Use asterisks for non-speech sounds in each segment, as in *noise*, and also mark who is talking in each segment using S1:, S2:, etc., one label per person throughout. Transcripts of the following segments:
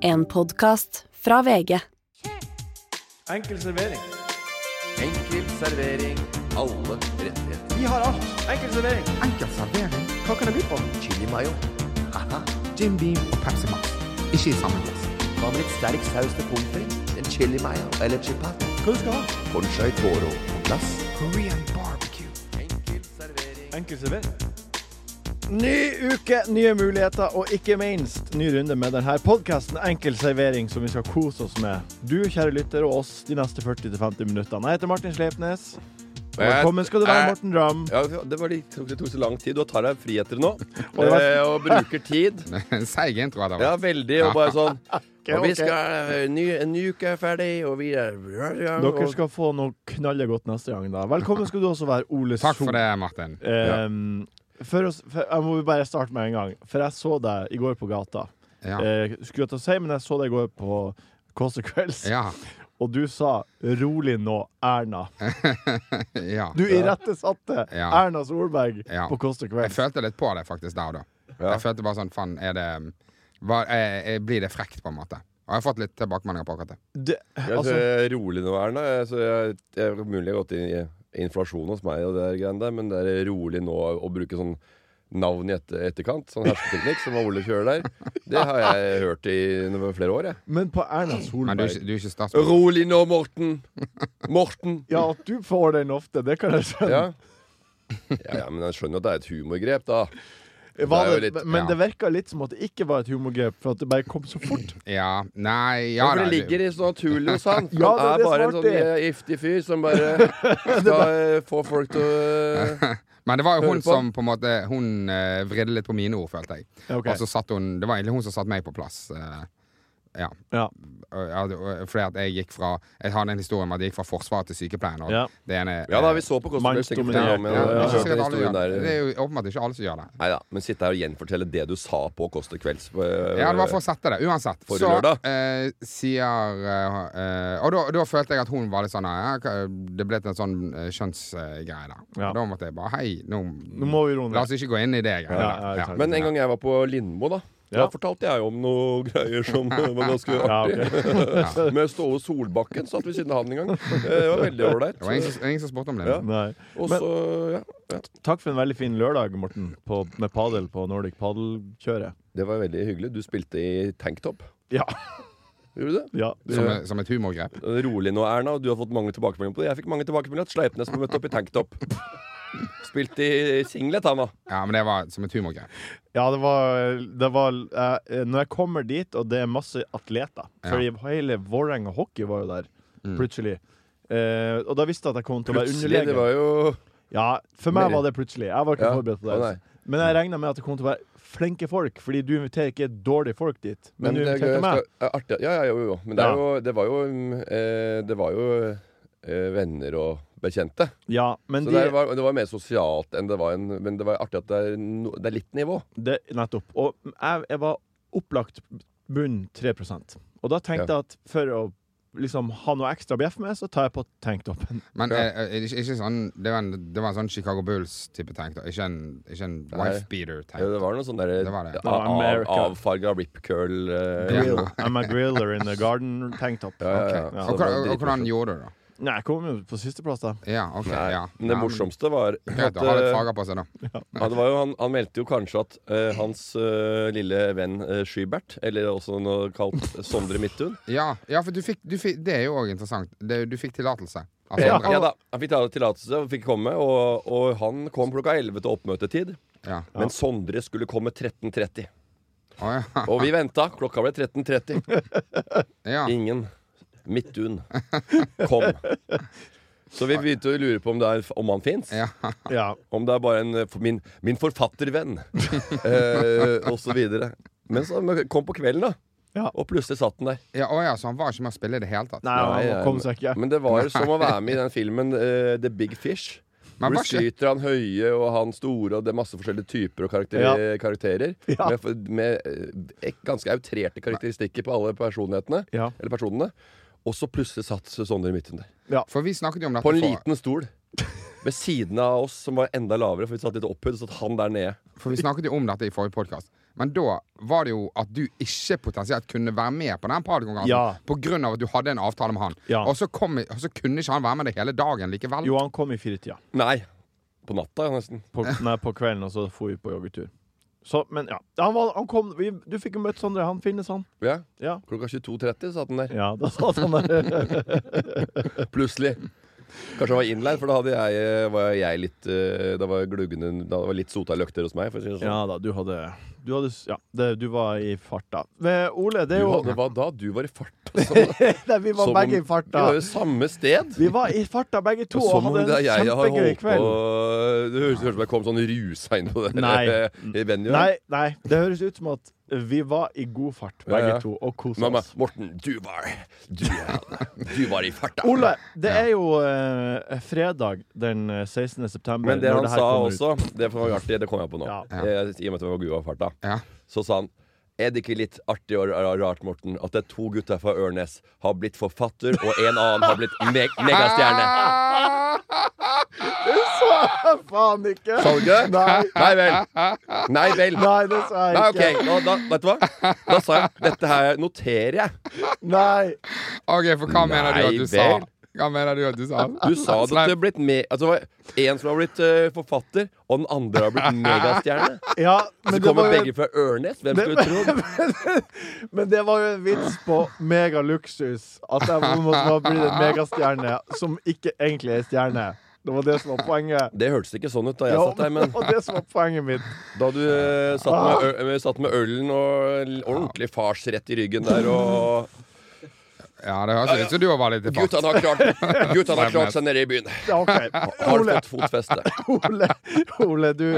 S1: En podkast fra VG.
S2: Enkel servering.
S3: Enkel servering. Alle rettigheter.
S2: Vi har alt. Enkel servering.
S4: Enkel servering,
S2: Hva kan det by på?
S3: Chili mayo. Haha.
S4: Jim Beam og Pepsi Max. Ikke i samme glass.
S3: Hva med litt sterk saus til pommes frites? En chili mayo eller chipat?
S2: Hva du skal ha?
S3: Conchai toro på glass.
S4: Korean barbecue.
S3: Enkel servering.
S2: Enkel servering. Ny uke, nye muligheter og ikke minst ny runde med denne podkasten Enkel servering, som vi skal kose oss med. Du, kjære lytter, og oss de neste 40-50 minuttene. Jeg heter Martin Sleipnes. Og Velkommen skal du være,
S5: Jeg-
S2: Morten Ramm.
S5: Eh, Ja, det, var, det tok- det tok så lang tid. Du tar deg friheter nå.
S2: *laughs* Og det var-
S5: eh, og bruker
S2: *laughs*
S5: tid.
S4: *laughs* Seig intro hadde
S5: Ja,
S4: vært.
S5: veldig. Og bare sånn Og
S2: ok.
S5: vi skal eh, ny, En ny uke er ferdig, og vi er
S2: Dere skal få noe knallegodt neste gang, da. Velkommen skal du også være, Ole
S4: Takk for
S2: Sol.
S4: det, Martin.
S2: Ehm, for oss, for, jeg må bare starte med en gang. For jeg så deg i går på gata.
S4: Ja.
S2: Eh, skulle jeg til å si, men jeg så deg i går på Kåse Kvelds,
S4: Ja.
S2: og du sa 'rolig nå, Erna'.
S4: ja.
S2: Du irettesatte
S4: Ja.
S2: Erna Solberg
S4: Ja.
S2: på Kåse
S4: Jeg
S2: Kvelds.
S4: følte litt på det faktisk der og da. Jeg følte bare sånn Faen, er det hva, eh, eh, Blir det frekt, på en måte? Og jeg har fått litt tilbakemeldinger på akkurat det.
S2: Det,
S5: altså,
S2: altså,
S5: Rolig nå, Erna. Jeg- Så jeg, jeg, det er mulig jeg har gått inn i inflasjon hos meg, og det der greiene der, men det er rolig nå å bruke sånn navn i etter, etterkant. Sånn hersketeknikk som Ole kjører der. Det har jeg hørt i noen- flere år, jeg.
S2: men på Erna
S4: Men du, er
S2: Solberg
S4: ikke- du er ikke statsminister.
S5: Rolig nå, Morten. Morten.
S2: Ja, at du får den ofte, det kan jeg skjønne.
S5: Ja. Ja, ja, men jeg skjønner jo at det er et humorgrep, da.
S2: Var
S5: det er jo
S2: det,
S5: litt-
S2: men
S4: ja.
S2: det virka litt som at det ikke var et humorgrep, for at det bare kom så fort.
S4: Ja. Nei, ja
S5: Ja, for det
S4: da, du-
S5: ligger i så naturlig hos han.
S2: Ja, det er
S5: han
S2: det
S5: er
S2: som
S5: bare
S2: er
S5: en sånn
S2: artig.
S5: eh, giftig fyr som bare skal eh, få folk til å eh,
S4: Men det var jo
S5: Hører på.
S4: hun som på en måte Hun eh, vridde litt på mine ord, følte jeg.
S2: Ja, ok.
S4: Og så satt hun Det var egentlig hun som satte meg på plass. eh, ja.
S2: Ja.
S4: Og- ja, det- og- Fordi at jeg gikk fra Jeg har den historien om at jeg gikk fra Forsvaret til sykepleien. Og
S2: Ja.
S4: det ene
S5: Ja da, vi så på Cosplay.
S2: Mannsdominert,
S4: ja,
S2: Ja,
S4: det er
S2: ja.
S4: ikke sikkert alle gjør det. det
S5: Nei
S4: er jo åpenbart ikke alle som gjør det.
S5: da, men sitte her og gjenfortelle det du sa på Kåss til kvelds. eh,
S4: Ja, det var for å sette det. Uansett.
S5: Forrige
S4: så
S5: lørdag.
S4: eh, sier eh, eh, Og da, da følte jeg at hun var litt sånn ja, hva- Det ble til en sånn eh, kjønnsgreie, da.
S2: Ja.
S4: Og Da måtte jeg bare Hei, nå,
S2: Nå må vi roe
S4: La
S2: ned.
S4: oss ikke gå inn i det
S2: Ja,
S4: greiene
S2: ja,
S4: der.
S2: exakt.
S5: Men en gang jeg var på Lindmo, da. Da
S2: Ja.
S5: fortalte jeg om noe *laughs* greier som eh, var ganske
S2: Ja,
S5: artig.
S2: ok.
S5: *laughs* Med Ståle Solbakken satt ved siden av han en gang. Eh, Det var veldig
S4: Det var ingen
S5: ålreit.
S4: som, ingen som spurte om det. liksom.
S5: Ja.
S2: Nei.
S5: Og
S2: Men-
S5: så, ja, ja.
S2: Takk for en veldig fin lørdag, Morten, på, med padel på Nordic Padelkjøret.
S5: Det var veldig hyggelig. Du spilte i tanktop.
S2: Ja.
S5: Gjorde du det?
S2: ja.
S4: Som, som et humorgrep.
S5: Rolig nå, Erna. og Du har fått mange tilbakemeldinger på det. Jeg fikk mange tilbakemeldinger at Sleipnes må møte opp i tanktop. Spilte i singlet, han, da.
S4: Ja, men det var som et humorgrep.
S2: Ja, det var, det var eh, Når jeg kommer dit, og det er masse atleter Fordi hele Vålerenga hockey var jo der, plutselig. Eh, og da visste jeg at jeg kom til å være
S5: Mm. Plutselig. Det
S2: underlegen.
S5: var jo
S2: Ja, for meg var det plutselig. Jeg var ikke
S5: Ja.
S2: forberedt på
S5: Å,
S2: det.
S5: nei.
S2: Men jeg regna med at det kom til å være flinke folk, fordi du inviterer ikke dårlige folk dit. Men, du
S5: det er
S2: inviterte
S5: gøy,
S2: meg.
S5: skal- ja, Artig. Ja, ja, jo, jo. Men det,
S2: Ja.
S5: er jo, det var jo mm, eh, Det var jo eh, venner og bekjente.
S2: Ja, men
S5: Så
S2: de,
S5: det, var, det var mer sosialt enn det var en Men det var artig at det er, no, det er litt nivå.
S2: det, Nettopp. Og jeg, jeg var opplagt bunn 3 Og da tenkte jeg at for å liksom ha noe ekstra å bjeffe med, så tar jeg på tanktoppen.
S4: Men
S5: Ja.
S4: eh, eh, ikke, ikke sånn det var, en, det var en sånn Chicago Bulls-type tank. Da. Ikke en, ikke en
S5: Nei.
S4: wife-beater-tank.
S5: Det var noe sånn der
S4: Det var det.
S5: av- av-
S2: America.
S5: avfarga rip curl eh,
S4: Ja.
S2: Grill. I'm a griller in the garden tanktop.
S5: Ja, ja, ja.
S4: Ok.
S2: Ja,
S5: Så det
S4: og,
S5: var
S4: hva- og, og hvordan
S5: dritmorsomt.
S4: gjorde du det? da?
S2: Nei, jeg kom jo på sisteplass, da.
S4: Ja, ok,
S5: Nei,
S4: ja.
S5: Men det
S4: ja,
S5: morsomste var
S4: Greit
S5: at,
S4: å ha litt
S5: eh,
S4: farger på seg, da.
S5: ja, det var jo, han, han meldte jo kanskje at eh, hans eh, lille venn eh, Skybert, eller også noe kalt Sondre Midthun
S4: Ja, ja for du fikk, du fikk Det er jo òg interessant. Det, du fikk tillatelse. av
S5: ja,
S4: Sondre.
S5: da, Han fikk ta- tillatelse og fikk komme, og, og han kom klokka 11 til oppmøtetid.
S4: ja.
S5: Men Sondre skulle komme 13.30.
S4: Å, ja. *laughs*
S5: Og vi venta. Klokka ble 13.30.
S4: ja.
S5: Ingen. Midthun kom. Så vi begynte å lure på om, det er, om han fins.
S4: Ja.
S2: Ja.
S5: Om det er bare en eh, for min, min
S4: *laughs*
S5: forfattervenn, eh, og så videre. Men så kom på kvelden, da.
S2: Ja.
S5: Og plutselig satt den der.
S4: Ja, å, ja, så han var ikke med å spille i det hele tatt.
S2: Nei, han kom seg ikke.
S5: Men det var som
S2: *laughs*
S5: å være med i den filmen eh, The Big Fish.
S4: Men
S5: Hvor
S4: hva
S5: du skyter han høye og han store, og det er masse forskjellige typer og karakter
S2: Ja.
S5: karakterer.
S2: Ja.
S5: Med, med eh, ek- ganske outrerte karakteristikker på alle personlighetene.
S2: Ja.
S5: Eller personene. Og så plutselig satt Sondre i midten der.
S4: For vi snakket jo om dette
S5: På en
S4: for-
S5: liten stol. Ved siden av oss, som var enda lavere, for vi satt litt opphøyd, og satt han der nede.
S4: For vi snakket jo om dette i forrige podkast. Men da var det jo at du ikke potensielt kunne være med på den partykonkurransen
S2: Ja.
S4: på grunn av at du hadde en avtale med han.
S2: Ja.
S4: Og, så kom, og så kunne ikke han være med deg hele dagen likevel.
S2: Jo, han kom i firetida.
S5: Nei. På natta, nesten.
S2: På, nei, på kvelden, og så for vi på joggetur. Så, men ja. Han, var, han kom vi, Du fikk jo møtt Sondre. Han finnes, han.
S5: Ja.
S2: Ja.
S5: Klokka 22.30 satt den der.
S2: Ja, da satt han der.
S5: Plutselig. Kanskje han var innleid, for da hadde jeg, eh, var jeg litt eh, Da var jeg gluggende Da var det litt sota løkter hos meg. For å si det sånn.
S2: *laughs* Ja da, du hadde, du hadde s- Ja, det, du var i farta. Men Ole, det er
S5: Du
S2: jo
S5: hadde, hva da? Du var i fart. altså.
S2: *laughs* Nei, Vi var
S5: Som
S2: begge
S5: om-
S2: i
S5: Vi var
S2: farta.
S5: jo samme sted.
S2: Vi var i farta begge to og
S5: Som om
S2: hadde
S5: det er
S2: en
S5: jeg jeg har
S2: kjempegøy
S5: holdt på
S2: kveld.
S5: Det høres ut som jeg kom sånn rusa inn på det
S2: Nei.
S5: der, eh, *laughs* i venue.
S2: Nei, nei, det høres ut som at vi var i god fart
S5: Ja,
S2: begge
S5: ja.
S2: to og kosa
S5: Mamma,
S2: oss.
S5: Morten, du var Du, du var i farta.
S2: Ole, det er jo eh, fredag den eh, 16. september.
S5: Men det
S2: når
S5: han
S2: her
S5: sa
S2: kommer ut.
S5: også, det var artig, det kom jeg på nå.
S2: Ja.
S5: Eh, I og med at vi var gode av farta.
S4: Ja.
S5: Så sa han er det ikke litt artig og ra- rart, Morten, at det er to gutter fra Ørnes har blitt forfatter, og en annen har blitt me megastjerne?
S2: Det sa jeg faen ikke!
S5: Sa du ikke det?
S2: Nei.
S5: Nei vel. Nei vel.
S2: Nei, det sa jeg
S5: Nei,
S2: ikke.
S5: OK. Nå, da, vet du hva? Da sa jeg dette her noterer jeg.
S2: Nei.
S4: Ok, for hva mener du at
S5: Nei
S4: du sa?
S5: vel.
S4: Hva mener du at du sa?
S5: Du sa at det
S4: Sleip.
S5: har blitt me altså, det var en som har blitt eh, forfatter, og den andre har blitt megastjerne.
S2: Ja,
S5: Så
S2: men det,
S5: kommer
S2: var jo,
S5: begge fra Ørnes. Hvem
S2: Det-
S5: skulle trodd?
S2: *laughs* men det var jo en vits på megaluksus. At jeg på en måte var blitt en megastjerne som ikke egentlig er stjerne. Det var det som var poenget.
S5: Det hørtes ikke sånn ut da jeg
S2: Ja,
S5: satt der, men
S2: det var det som var poenget mitt.
S5: Da du eh, satt med, ø- eh, satt med ølen og l- ordentlig farsrett i ryggen der og
S4: Ja, det høres ut som du var litt i fart.
S5: Guttene har klart, guttene har klart seg nede i byen.
S2: Ja, OK.
S5: Har
S2: Ole,
S5: fått fotfeste.
S2: Ole, Ole du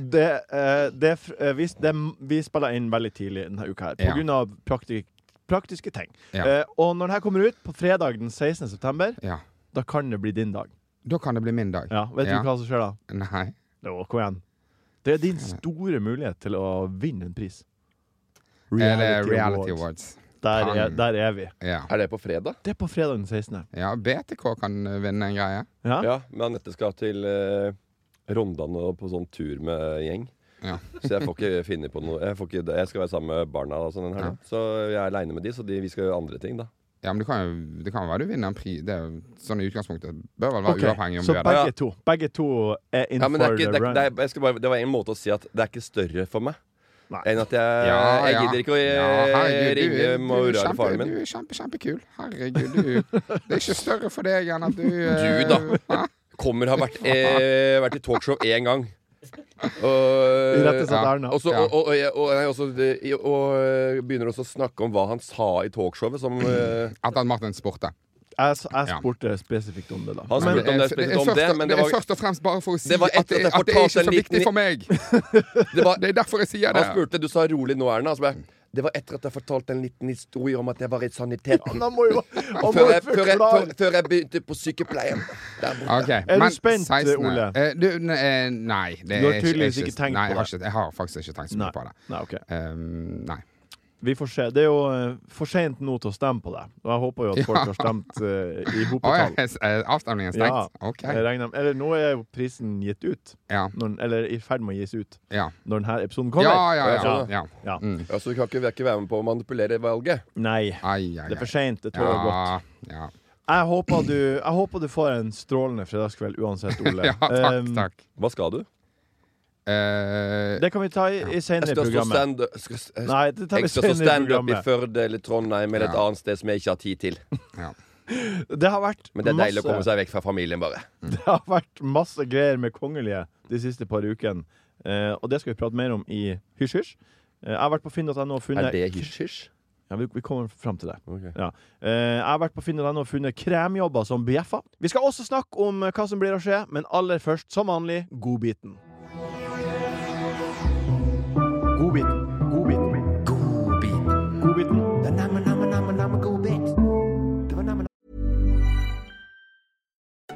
S2: det, eh, det, fr- eh, vi, det, vi spiller inn veldig tidlig denne uka her på
S4: Ja.
S2: grunn av prakti- praktiske ting.
S4: Ja.
S2: Eh, og når denne kommer ut på fredag den 16. september,
S4: Ja.
S2: da kan det bli din dag.
S4: Da kan det bli min dag.
S2: Ja, vet
S4: Ja.
S2: du hva som skjer da?
S4: Nei.
S2: Jo, kom igjen. Det er din store mulighet til å vinne en pris.
S4: Er det Reality Awards?
S2: Der er,
S4: Kan.
S2: der er vi.
S4: Ja.
S5: Er det på fredag?
S2: Det er på fredag den 16.
S4: ja. BTK kan vinne en greie.
S2: Ja?
S5: Ja, men Anette skal til eh, Rondane og på sånn tur med gjeng.
S4: Ja.
S5: Så jeg får ikke finne på noe. Jeg, får ikke, jeg skal være sammen med barna. Og sånn den helgen. Så jeg er aleine med de, så de, vi skal gjøre andre ting, da.
S4: Ja, men det kan jo det kan jo være du vinner en pri... Det er jo sånn i utgangspunktet. Bør vel være
S2: Ok,
S4: uavhengig om
S2: Så
S4: du er der.
S2: begge to, begge to er in
S5: Ja, men det,
S2: for
S5: er
S2: the
S5: ikke, det, er,
S2: run.
S5: det, er, jeg skal bare, det var en måte å si at det er ikke større for meg.
S2: Nei.
S5: Enn at jeg,
S4: Ja,
S5: jeg
S4: ja.
S5: gidder ikke å eh,
S4: Ja, herregud, du-
S5: ringe
S4: du-
S5: mora
S4: kjempe-
S5: eller faren min.
S4: Du er kjempe, kjempekul. Herregud, du. Det er ikke større for deg enn at du eh,
S5: Du da. Kommer har vært, eh, vært i talkshow én gang. Og,
S2: Rett og slett
S4: Ja.
S2: Erna.
S5: og, så-
S4: Ja.
S5: og, og, og, jeg- og, jeg også- det- og, eh, begynner også å snakke om hva han sa i talkshowet. Som, eh,
S4: At han Martin spurte.
S2: Jeg, s- jeg
S4: Ja.
S2: spurte spesifikt om det, da.
S5: han
S2: Men- *laughs*
S5: spurte Altså, om det,
S4: er-
S5: spesielt
S4: er
S5: om det,
S4: først og-
S5: men det
S4: er
S5: var,
S4: først og fremst bare for å si
S5: Det var
S4: at,
S5: etter at
S4: det,
S5: jeg
S4: at det
S5: fortalte
S4: er
S5: Ah.
S4: ikke så
S5: en liten-
S4: viktig for meg.
S5: det var
S4: Det er derfor jeg sier
S5: Han
S4: det.
S5: spurte du sa rolig nå, Erna. Og så bare Det var etter at jeg fortalte en liten historie om at jeg var i saniteten.
S2: Han må
S5: *laughs*
S2: jo han må
S5: Før
S2: jo
S5: jeg, før, jeg,
S2: forklare.
S5: før, før jeg begynte på sykepleien. Der borte.
S4: Ok,
S2: *laughs* Er du
S4: men
S2: spent,
S4: 16.
S2: Ole?
S4: Eh, du, n- eh, nei. Det
S2: Du har
S4: er
S2: tydeligvis
S4: jeg
S2: ikke tenkt
S4: nei,
S2: på
S4: jeg har
S2: det.
S4: Ikke, jeg har faktisk ikke tenkt så mye på det.
S2: Nei, ok.
S4: Um, nei.
S2: Vi får se. Det er jo eh, for seint nå til å stemme på det. Og jeg håper jo
S4: *laughs*
S2: at folk har stemt eh, i
S4: Å ja,
S2: hopetall.
S4: *laughs* s- eh, avstemningen er
S2: Ja.
S4: stengt? Ok.
S2: Jeg regner, eller nå er jo prisen gitt ut.
S4: Ja.
S2: Når, den- eller i ferd med å gis ut
S4: Ja.
S2: når denne episoden
S4: Ja,
S2: kommer.
S4: ja, ja.
S2: Ja.
S4: ja.
S2: Ja.
S4: Mm.
S5: Ja, så vi kan ikke, vi er ikke være med på å manipulere valget.
S2: Nei.
S4: Ai, ai,
S2: Det er
S4: ai.
S2: for seint. Det tåler godt.
S4: Ja, ja. *laughs*
S2: Jeg håper, du, jeg håper du får en strålende fredagskveld uansett, Ole.
S4: *laughs* ja, takk,
S2: Um,
S4: takk.
S5: Hva skal du?
S4: Eh,
S2: Ehm, Det kan vi ta i, i
S5: Jeg
S2: senere i
S5: skal stå
S2: programmet.
S5: stand skal, jeg,
S2: Nei, det tar vi
S5: jeg skal stå
S2: senere i
S5: standup i
S2: programmet.
S5: Førde eller Trondheim eller et
S4: Ja.
S5: annet sted som jeg ikke har tid til.
S2: Det har vært
S5: Men det er deilig å komme
S2: masse,
S5: seg vekk fra familien, bare.
S2: det har vært masse greier med kongelige de siste par ukene. Eh, og det skal vi prate mer om i Hysj hysj. Eh, jeg har vært på finn.no og funnet
S5: Er det hysj-hysj?
S2: Ja, vi, vi kommer frem til det.
S5: Ok.
S2: Ja. Eh, jeg har vært på finn.no og funnet kremjobber som bjeffer. Vi skal også snakke om eh, hva som blir å skje, men aller først, som vanlig, godbiten. Godbiten. Godbiten. Godbiten.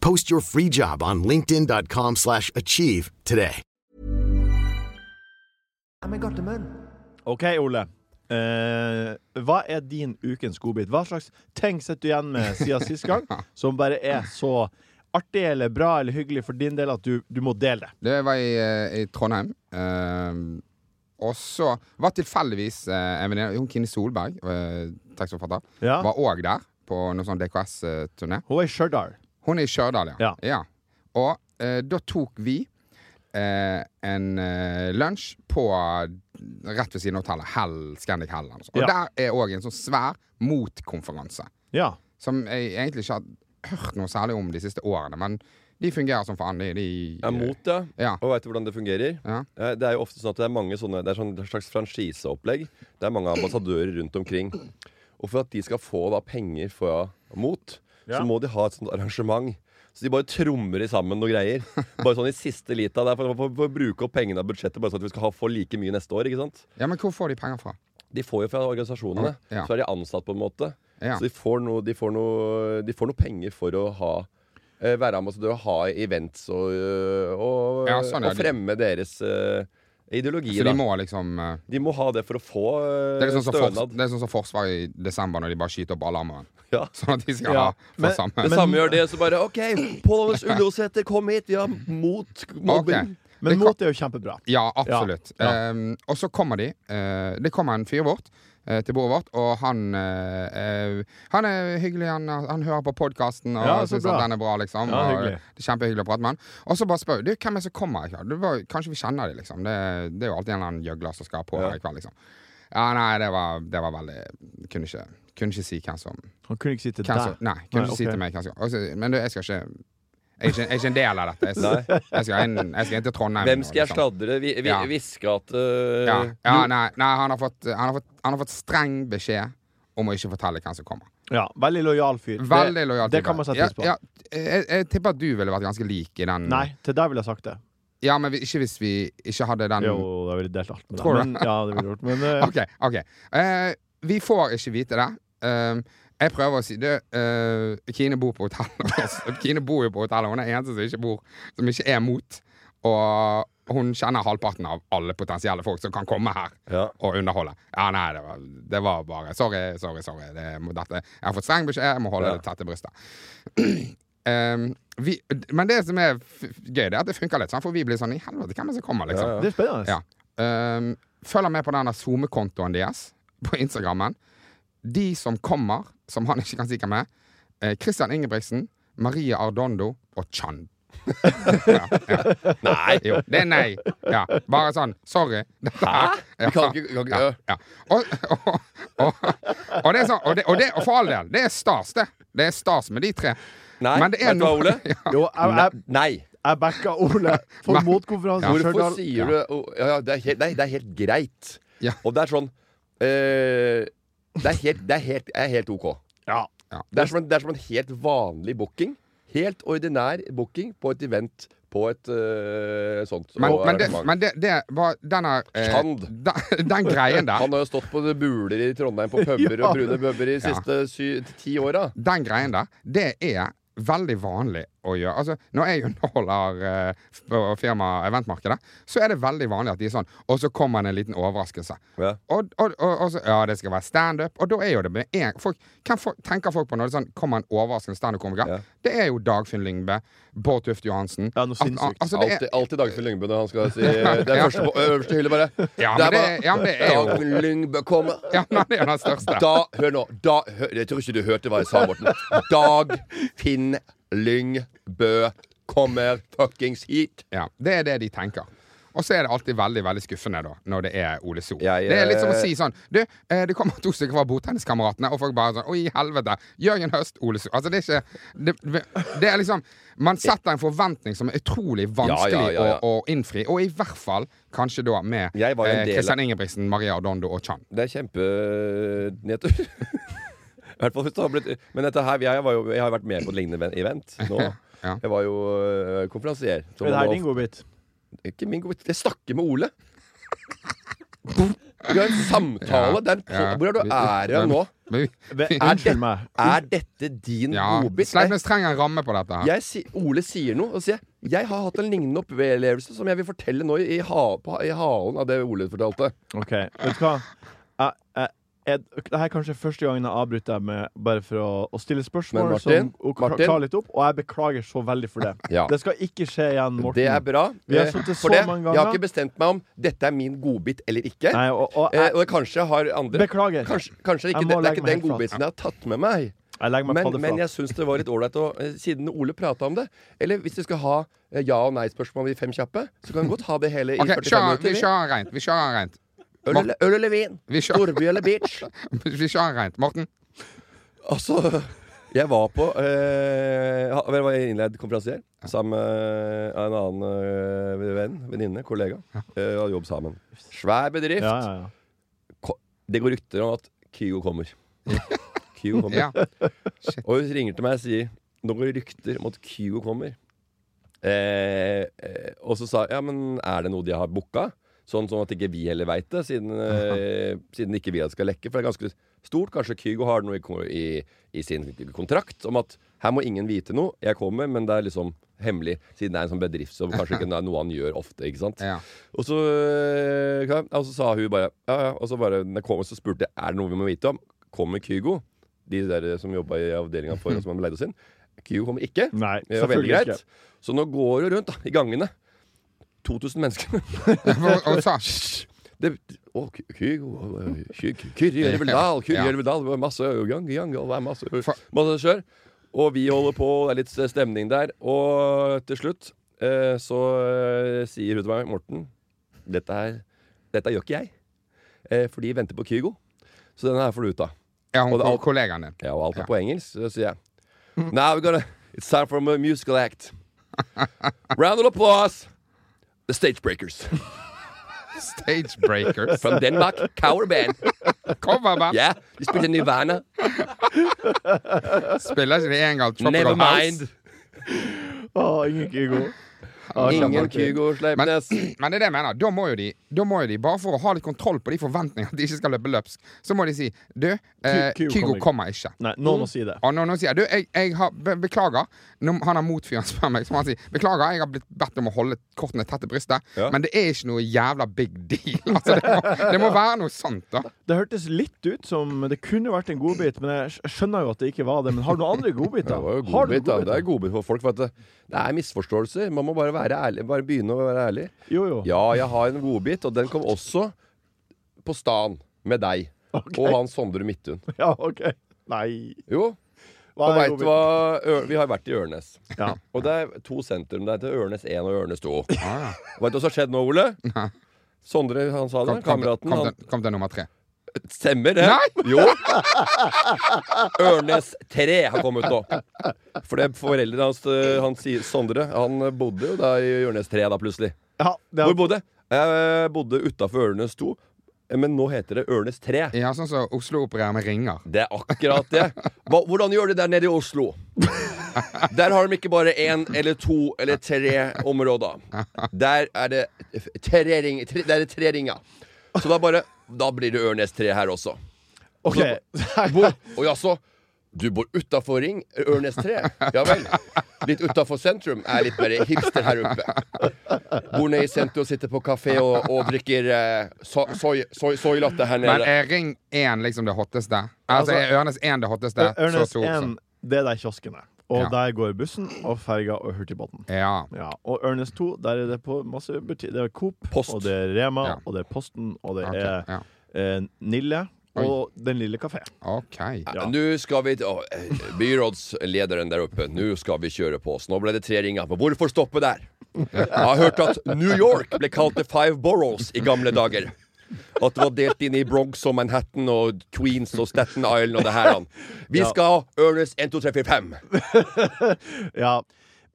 S6: Post your free job on linkedin.com/achieve slash achieve today.
S3: I'm a godtemann.
S2: OK, Ole. Eh, hva er din ukens godbit? Hva slags ting sitter du igjen med siden sist
S4: *laughs*
S2: gang, som bare er så artig eller bra eller hyggelig for din del at du, du må dele det?
S4: Det var i, eh, i Trondheim. Eh, og så var tilfeldigvis eh, en venninne, hun Kine Solberg, eh, tekstforfatter,
S2: Ja.
S4: var òg der på noe sånn DKS-turné.
S2: Hun er i Stjørdal.
S4: Hun er i Stjørdal, ja.
S2: Ja.
S4: Og eh, da tok vi eh, en eh, lunsj på eh, rett ved siden av hotellet. Hell, Scandic Hell. eller noe sånt. Og
S2: Ja.
S4: der er òg en sånn svær motkonferanse.
S2: Ja.
S4: Som jeg egentlig ikke har hørt noe særlig om de siste årene, men de fungerer som faen. De, de,
S5: Jeg er mot det,
S4: Ja.
S5: og veit hvordan det fungerer.
S4: Ja.
S5: Eh, Det er jo ofte sånn at det er mange sånne Det er sånn et slags franchiseopplegg. Det er mange ambassadører rundt omkring. Og for at de skal få da penger fra Mot,
S2: Ja.
S5: så må de ha et sånt arrangement. Så de bare trommer i sammen noe greier. Bare sånn i siste lita. Det er for, for, for å bruke opp pengene av budsjettet bare sånn at vi skal ha få like mye neste år. ikke sant?
S4: Ja, men hvor får de penger fra?
S5: De får jo fra organisasjonene.
S4: Ja.
S5: Så er de ansatt, på en måte.
S4: Ja.
S5: Så de får noe, de får noe, de får noe penger for å ha eh, være ambassadør og ha events og, eh, og,
S4: Ja, sånn, ja.
S5: og fremme deres eh, ideologi.
S4: Så de
S5: da.
S4: må liksom eh,
S5: de må ha det for å få eh,
S4: Det er liksom som fors-
S5: stønad.
S4: det er sånn som Forsvaret i desember, når de bare skyter opp alarmen.
S5: Ja.
S4: *laughs* Sånn at de skal
S2: Ja,
S4: ha
S2: men-
S4: for samme.
S5: Det samme gjør det, så bare OK, Pål Anders Ullåsæter, kom hit! Vi har mot mobbing.
S4: Ok.
S2: Men
S4: Det kom-
S2: mot er jo kjempebra.
S4: Ja, absolutt.
S2: Ja,
S4: Ehm, og så kommer de. eh, det kommer en fyr vårt eh, til bordet vårt, og han eh, eh, Han er hyggelig, han, han hører på podkasten og
S2: Ja, så
S4: syns
S2: bra.
S4: at den er bra, liksom.
S2: Ja,
S4: og,
S2: hyggelig.
S4: det er Kjempehyggelig å prate med han. Og så bare spør du, hvem er det som kommer i kveld. Du, bare, kanskje vi kjenner de, liksom. Det, det er jo alltid en eller annen gjøgler som skal på her i kveld, liksom. Ja, nei, det var, det var veldig Kunne ikke, kunne ikke si hvem som
S2: Han kunne ikke si til
S4: hvem som,
S2: deg.
S4: Nei, kunne ikke si
S2: ok.
S4: til meg hvem som altså, Men du, jeg skal ikke jeg er, ikke, jeg er ikke en del av dette. Jeg skal, jeg skal, inn, jeg skal inn til Trondheim.
S5: Hvem
S4: nå,
S5: skal jeg
S4: liksom.
S5: sladre? Vi, vi,
S4: Ja.
S5: Hviske at eh,
S4: Ja, ja
S5: jo,
S4: nei, nei han, har fått, eh, han, har fått, han har fått streng beskjed om å ikke fortelle hvem som kommer.
S2: Ja, veldig lojal fyr. Det-
S4: Veldig lojal.
S2: Det
S4: type.
S2: kan man sette pris på.
S4: Ja, ja, jeg, jeg tipper at du ville vært ganske lik i den.
S2: Nei, til deg ville jeg
S4: Mm.
S2: sagt det.
S4: Ja, men vi- ikke hvis vi ikke hadde den
S2: Jo, da ville jeg delt alt med
S4: Tror du?
S2: deg. Men, ja, det ville jeg gjort. Men eh,
S4: *laughs* OK. ok Eh, Vi får ikke vite det. Um, jeg prøver å si det. eh, Kine bor på hotell. *laughs* Kine bor jo på hotellet. Hun er eneste som ikke bor Som ikke er mot. Og hun kjenner halvparten av alle potensielle folk som kan komme her
S5: Ja.
S4: og underholde. Ja, nei, det var, det var bare Sorry, sorry, sorry. Det, må- dette, jeg har fått streng beskjed. Jeg må holde
S5: Ja.
S4: det tett til brystet. *clears throat* Um, vi, men det som er f f- gøy, det er at det funker litt. Sånn, for vi blir sånn I helvete, hvem er det som kommer? liksom
S5: Ja, ja.
S2: det er spennende.
S4: ja. Ehm, følg med på denne SoMe-kontoen deres på Instagrammen. De som kommer, som han ikke kan si hvem er, eh, Christian Ingebrigtsen, Maria Ardondo og Chan. *laughs* ja, ja. Nei! Jo, det er nei. Ja, bare sånn. Sorry. Hæ?
S5: Vi kan ikke, vi kan ikke
S4: Ja, ja. Og, og, og, og det er sånn, og, det, og, det, og for all del, det er stas, det. Det er stas med de tre.
S5: Nei,
S4: Men det er
S5: vet du hva,
S4: noe-
S5: Ole?
S4: *laughs*
S2: Jo, jeg, jeg,
S5: Nei.
S2: jeg backa Ole for
S4: Men-
S2: motkonferanse. i
S5: Hvorfor
S2: Stjørdal.
S5: sier du oh, ja, ja, det, er helt, nei, det er helt greit.
S4: Ja.
S5: Og det er sånn eh, det, er helt, det, er helt, det er helt OK.
S2: Ja.
S5: Det er, som en, det er som en helt vanlig booking. Helt ordinær booking på et event på et eh, sånt
S4: Men, men, det,
S5: arrangement.
S4: men det, det var denne eh,
S5: Chand.
S4: den, den greien der.
S5: Han har jo stått på det buler i Trondheim på puber
S2: Ja.
S5: og brune puber i de
S4: *laughs* Ja.
S5: siste sy, ti åra.
S4: den greien der, det er veldig vanlig å gjøre. Altså, når jeg underholder eh, på firma eventmarkedet, så er det veldig vanlig at de er sånn, og så kommer det en liten overraskelse.
S5: Ja.
S4: Og, og, og, og så, ja, det skal være stand-up, og da er jo det med en, folk, hvem folk, tenker folk på når det sånn, kommer en overraskende stand-up-komiker?
S5: Ja.
S4: Det er jo Dagfinn Lyngbø, Bård Tufte Johansen.
S2: Ja, noe
S4: Al- al-
S2: sinnssykt.
S4: altså, det er,
S5: Alltid, alltid Dagfinn Lyngbø når han skal
S4: *laughs*
S5: si Det er
S4: Ja.
S5: første på øverste hylle, bare.
S4: Ja,
S5: Der
S4: men
S5: var
S4: det- ja, men det er jo-
S5: Dagfinn Lyngbø kommer.
S4: ja, men det er jo den største.
S5: *laughs* Da, hør nå da, hør, Jeg tror ikke du hørte hva jeg sa, Morten. Dag Finn Lyngbø kommer fuckings hit.
S4: Ja, det er det de tenker. Og så er det alltid veldig veldig skuffende da, når det er Ole So.
S5: Jeg,
S4: det er litt som å
S5: eh,
S4: si sånn Du, eh, det kommer to stykker fra Bordtenniskameratene, og folk bare sånn Oi, helvete. Jørgen Høst, Ole So. Altså, det er ikke det, det er liksom Man setter en forventning som er utrolig vanskelig
S5: Ja, ja, ja, ja.
S4: Å, å innfri, og i hvert fall kanskje da med
S5: Jeg var jo en
S4: eh,
S5: del av-
S4: Christian Ingebrigtsen, Maria Ardondo og Chan.
S5: Det er kjempenedtur. *laughs* I hvert fall hvis det har blitt Men dette her, jeg, var jo, jeg har vært med på et lignende ven- *laughs* event nå.
S4: Ja.
S5: Jeg var jo øh, konferansier. så
S2: Er det
S5: man
S2: her
S5: var-
S2: din godbit?
S5: Ikke min godbit. Jeg snakker med Ole! Vi har en samtale.
S4: Ja,
S5: Det er en po
S4: ja.
S5: Hvor er du er hen nå?
S4: Men vi-
S2: Ve-
S5: Er, det,
S2: Unnskyld meg.
S5: er dette din
S4: *laughs* Ja,
S5: godbit?
S4: Sleipnes trenger en ramme på dette. her
S5: Jeg si, Ole sier noe, og så sier jeg Jeg har hatt en lignende opplevelse som jeg vil fortelle nå i, i, ha, på, i halen av det Ole fortalte.
S2: OK, vet du hva? Jeg, jeg, jeg, det her er kanskje første gangen jeg avbryter deg med bare for å, å stille spørsmål
S5: Men Martin,
S2: som, og kla-
S5: Martin?
S2: klare litt opp, og jeg beklager så veldig for det.
S5: *laughs* Ja.
S2: Det skal ikke skje igjen, Morten.
S5: Det er bra.
S2: Vi har
S5: eh,
S2: sittet
S5: for
S2: så
S5: det.
S2: mange
S5: Jeg har
S2: ganger.
S5: ikke bestemt meg om dette er min godbit eller ikke.
S2: Nei, og, og
S5: Eh,
S2: jeg,
S5: og jeg kanskje har andre
S2: Beklager.
S5: Kanskje, kanskje ikke,
S2: Jeg må
S5: det, det er
S2: legge
S5: ikke
S2: meg
S5: den
S2: helt flat.
S5: godbiten jeg har tatt med meg.
S2: jeg legger meg
S5: Men,
S2: på det
S5: men
S2: flat.
S5: jeg syns det var litt ålreit, å- eh, siden Ole prata om det. Eller hvis vi skal ha eh, ja- og nei-spørsmål i Fem kjappe, så kan vi godt ha det hele i
S4: Ok,
S5: 45
S4: kjør, vi
S5: minutter. vi.
S4: kjører rent. Vi kjører rent. *laughs*
S5: Øl eller- Øl eller vin?
S4: Vi kjører-
S5: Storby eller beach?
S2: *laughs*
S4: Vi kjører rent. Morten?
S5: Altså Jeg var på eh, ha- Jeg var innleid konferansier sammen med en annen eh, venn, venninne, kollega. Eh, og jobb sammen. Svær bedrift.
S2: ja, ja, ja.
S5: Ko- Det går rykter om at Kygo kommer.
S2: *laughs*
S5: Kygo kommer.
S4: Ja.
S5: Og hun ringer til meg og sier Nå går det rykter om at Kygo kommer eh, eh, Og så sa jeg Ja, men er det noe de har booka? Sånn, sånn at ikke vi heller veit det Siden, eh, siden ikke vi at det skal lekke For det er ganske stort Kanskje Kygo har noe i, ko- i, i sin kontrakt Om at her må ingen vite noe Jeg kommer, men det er liksom hemmelig Siden det er en sånn bedrift Som kanskje ikke er noe han gjør ofte Ikke sant? *laughs*
S4: Ja.
S5: Og så, øh, ja, og så sa hun bare Ja, ja. Og så, bare, når jeg kom, så spurte jeg er det noe vi må vite om. Kommer Kygo? De der eh, som jobba i avdelinga
S2: *laughs*
S5: for oss, som leide oss inn. Kygo kommer ikke.
S2: Nei,
S5: det var veldig
S2: selvfølgelig
S5: greit.
S2: ikke.
S5: Så nå går hun rundt da, i gangene. 2000 mennesker.
S4: Og, og sa
S5: Det, å, Ky- Kygo øh, Ky- Ky- Kyrre Gjørveldal, Kyrre
S4: *laughs* Ja.
S5: Gjørveldal. det var Masse gang, gang, og det er masse,
S4: Fa-
S5: masse kjør. Og vi holder på, det er litt stemning der. Og til slutt eh, så eh, sier hun til meg, Morten Dette, her, dette gjør ikke jeg. Eh, for de venter på Kygo. Så denne her får du ut av.
S4: ja, hun
S5: Og det-
S4: og kollegaen din.
S5: Ja, og alt er
S4: Ja.
S5: på engelsk. Så sier jeg Now we're gonna It's time for a musical
S4: *laughs*
S5: act. Round of applause. The Stage Breakers.
S4: Stage
S5: *laughs*
S4: Breakers.
S5: From Denmark, Cower Band.
S4: Coverband.
S5: Yeah, de spilte Nirvana.
S4: Spiller ikke de en gang
S5: Never
S4: Tropical
S5: mind.
S4: House?
S2: Å, ingen Kygo.
S5: Ingen Kygo
S4: Men,
S5: Sleipnes.
S4: *clears throat* men det er det jeg mener. Da må, jo de, da må jo de, bare for å ha litt kontroll på de forventningene, at de ikke skal løpe løpsk, så må de si Du, eh,
S2: Kygo
S4: Kygo
S2: kommer ikke.
S4: kommer ikke.
S2: Nei, noen må si det.
S4: Og når noen sier du, jeg, jeg har, be, beklager Når Han har motfyren *laughs* spør meg, så må han si beklager, jeg har blitt bedt om å holde kortene tett til brystet,
S5: Ja.
S4: men det er ikke noe jævla big deal. *laughs* Altså, det, må, det må være noe sånt, da.
S2: Det hørtes litt ut som det kunne vært en godbit, men jeg skj- skjønner jo at det ikke var det. Men har du noen andre godbiter?
S5: *laughs* Det var jo
S2: Har du
S5: godbit, da.
S2: godbiter?
S5: Det er godbit for folk. For at det, det er misforståelser. Man må bare være ærlig. Bare begynne å være ærlig.
S2: Jo, jo.
S5: Ja, jeg har en godbit, og den kom også på stan med deg.
S2: Ok.
S5: Og han Sondre Midthun.
S2: *laughs* Ja, OK. Nei.
S5: Jo.
S2: Hva
S5: Og
S2: er
S5: veit
S2: godbiten?
S5: du hva Ø- Vi har vært i Ørnes.
S2: Ja.
S5: Og det er to sentrum. Det heter Ørnes 1 og Ørnes 2.
S4: Ah, ja.
S5: Veit du hva som har skjedd nå, Ole?
S4: Nei.
S5: Sondre, han sa det.
S4: Kom, kom, til-
S5: Kameraten.
S4: kom,
S5: han-
S4: til- kom til nummer tre.
S5: Stemmer det?
S4: Nei!
S5: *laughs* Jo. Ørnes 3 har kommet nå. For det foreldrene hans, eh, han sier Sondre, han eh, bodde jo da i Ørnes 3 da plutselig.
S2: ja det
S5: Hvor
S2: er,
S5: bodde jeg? Jeg eh, bodde utafor Ørnes 2, eh, men nå heter det Ørnes 3.
S4: Ja, sånn som Oslo opererer med ringer.
S5: Det er akkurat det. Hva, hvordan gjør de der nede i Oslo? Der har de ikke bare én eller to eller tre områder. Der er det f- tre, ring, tre, der er det tre ringer. Så da bare Da blir det Ørnes 3 her også.
S2: OK.
S5: Hvor, og jaså, du bor utafor Ring eh, Ørnes 3? Ja vel. Litt utafor sentrum er litt mer hipster her oppe. Bor nede i sentrum, sitter på kafé og, og drikker eh, so, soy, soy, soylatte her
S4: Men
S5: nede.
S4: er Ring 1 liksom det hotteste? Altså,
S2: Altså,
S4: er Ørnes 1 det hotteste?
S2: Ørnes
S4: så to, så-
S2: 1, det er der kiosken er. Og
S4: Ja.
S2: der går bussen og ferga og hurtigbåten.
S4: Ja.
S2: Ja, og Ørnes 2, der er det på masse buti- Det er Coop,
S5: Post.
S2: og det er Rema,
S4: Ja.
S2: og det er Posten, og det
S4: Ok.
S2: er
S4: Ja.
S2: eh, Nille,
S4: Oi.
S2: og Den lille kafé.
S4: Ok.
S2: Ja.
S5: Nå skal vi å, eh, Byrådslederen der oppe, nå skal vi kjøre på oss. Nå ble det tre ringer. Men hvorfor stoppe der? Jeg har hørt at New York ble kalt The Five Boroughs i gamle dager. Og at det var delt inn i Bronx og Manhattan og Queens og Staten Island og det her. han. Vi skal ha Ernest 1, 2, 3, 4, 5.
S2: Ja.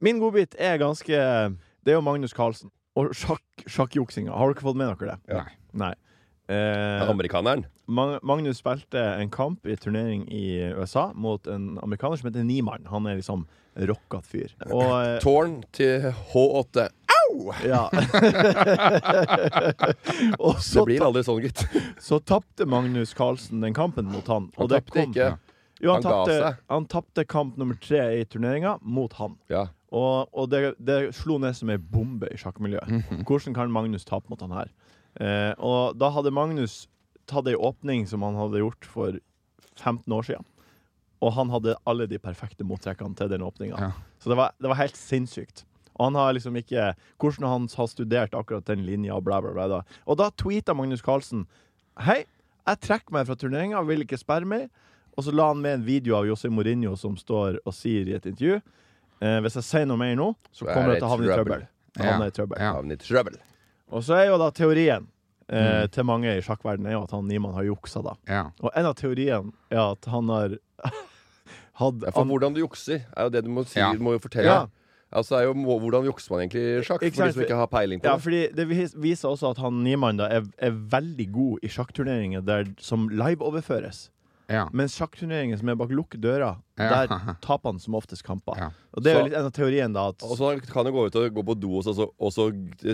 S2: Min godbit er ganske Det er jo Magnus Carlsen og sjakk, sjakkjuksinga. Har dere fått med dere det?
S4: Nei.
S2: Nei. Eh,
S5: Amerikaneren.
S2: Mag- Magnus spilte en kamp i turnering i USA mot en amerikaner som heter Niemann. Han er liksom rockat fyr. Og eh,
S5: Tårn til H8. Au! *laughs*
S2: ja. og
S5: Det
S2: så,
S5: blir aldri sånn, gitt.
S2: så tapte Magnus Carlsen den kampen mot han.
S5: Han
S2: Og det
S5: tapte
S2: kom-
S5: ikke.
S2: Jo, han,
S5: Han ga
S2: tapte,
S5: seg.
S2: han tapte kamp nummer tre i turneringa mot han.
S5: Ja.
S2: Og, og det, det slo ned som ei bombe i sjakkmiljøet.
S5: *laughs*
S2: Hvordan kan Magnus tape mot han her? Eh, og da hadde Magnus tatt ei åpning som han hadde gjort for 15 år siden. Og han hadde alle de perfekte mottrekkene til den åpninga.
S4: Ja.
S2: Så det var, det var helt sinnssykt. Og han har liksom ikke Hvordan han har studert akkurat den linja og bla, bla, bla. Da. Og da tweeta Magnus Carlsen Hei, jeg trekker meg fra turneringa, vil ikke sperre mer. Og så la han med en video av José Mourinho som står og sier i et intervju eh, Hvis jeg sier noe mer nå, så
S5: Så er
S2: kommer
S5: det
S2: jeg til å havne i
S5: trøbbel.
S2: trøbbel. Han
S4: Ja.
S2: er i trøbbel.
S4: Ja.
S5: Havnet i trøbbel.
S2: Og så er jo da teorien eh, til mange i sjakkverdenen er jo at han Niemann har juksa, da.
S4: Mm. Ja.
S2: Og en av teoriene er at han har *laughs* hatt
S5: Ja, for hvordan du jukser, er jo det du må, si,
S4: Ja.
S5: du må jo fortelle.
S2: Ja.
S5: Altså, er jo, må- hvordan jukser man egentlig i sjakk?
S2: Ikke
S5: For de
S2: sant?
S5: som ikke har peiling på
S2: Ja,
S5: det.
S2: fordi det vis- viser også at han Niemann da er, er veldig god i sjakkturneringer der, som liveoverføres.
S4: Ja.
S2: Mens sjakkturneringer som er bak lukkede dører,
S4: *laughs* Ja.
S2: der taper han som oftest kamper.
S4: Ja.
S2: Og det er jo
S5: Så-
S2: litt en av teorien, da. At,
S5: Og så kan du gå ut og gå på do og så, og så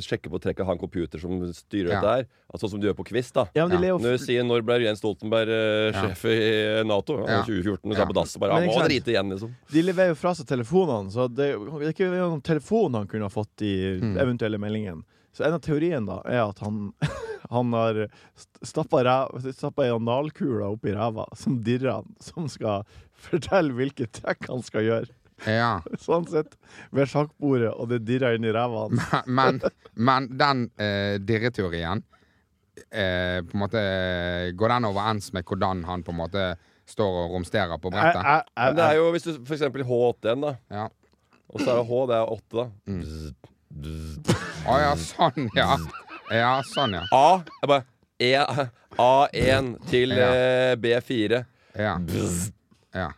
S5: sjekke på trekket han computer som styrer
S4: Ja.
S5: dette her. Altså, sånn som du gjør på quiz, da.
S2: ja, men de
S4: Ja.
S2: lever
S5: Når du
S2: jo
S5: sier 'når ble Jens Stoltenberg eh, sjef i Nato'? Ja.
S4: Ja.
S5: 2014. Når du
S4: Ja.
S5: er på dass og bare
S2: Men
S5: ja,
S2: ikke
S5: må
S2: sant?
S5: drite igjen, liksom.
S2: De leverer jo fra seg telefonene, så det, det er ikke noen telefon han kunne ha fått i eventuelle meldingen. Så en av teorien da er at han, *laughs* han har st- stappa ræv- stappa ei analkule oppi ræva som dirrer han, som skal fortelle hvilke trekk han skal gjøre. *laughs*
S4: ja.
S2: Så han sitter ved sjakkbordet, og det dirrer inn i ræva
S4: *laughs*
S2: hans.
S4: Men, men den eh, dirreteorien eh, På en måte eh, Går den overens med hvordan han på en måte står og romsterer på
S2: Jeg,
S4: brettet?
S2: jeg, jeg,
S5: Men det er jo hvis du for eksempel H81, da.
S4: Ja.
S5: Og så er det H, det er 8, da.
S2: Mm.
S4: Å ja, sånn, ja. Ja, sånn, ja.
S5: A er bare e, A1 til eh, B4.
S4: Ja. Ja.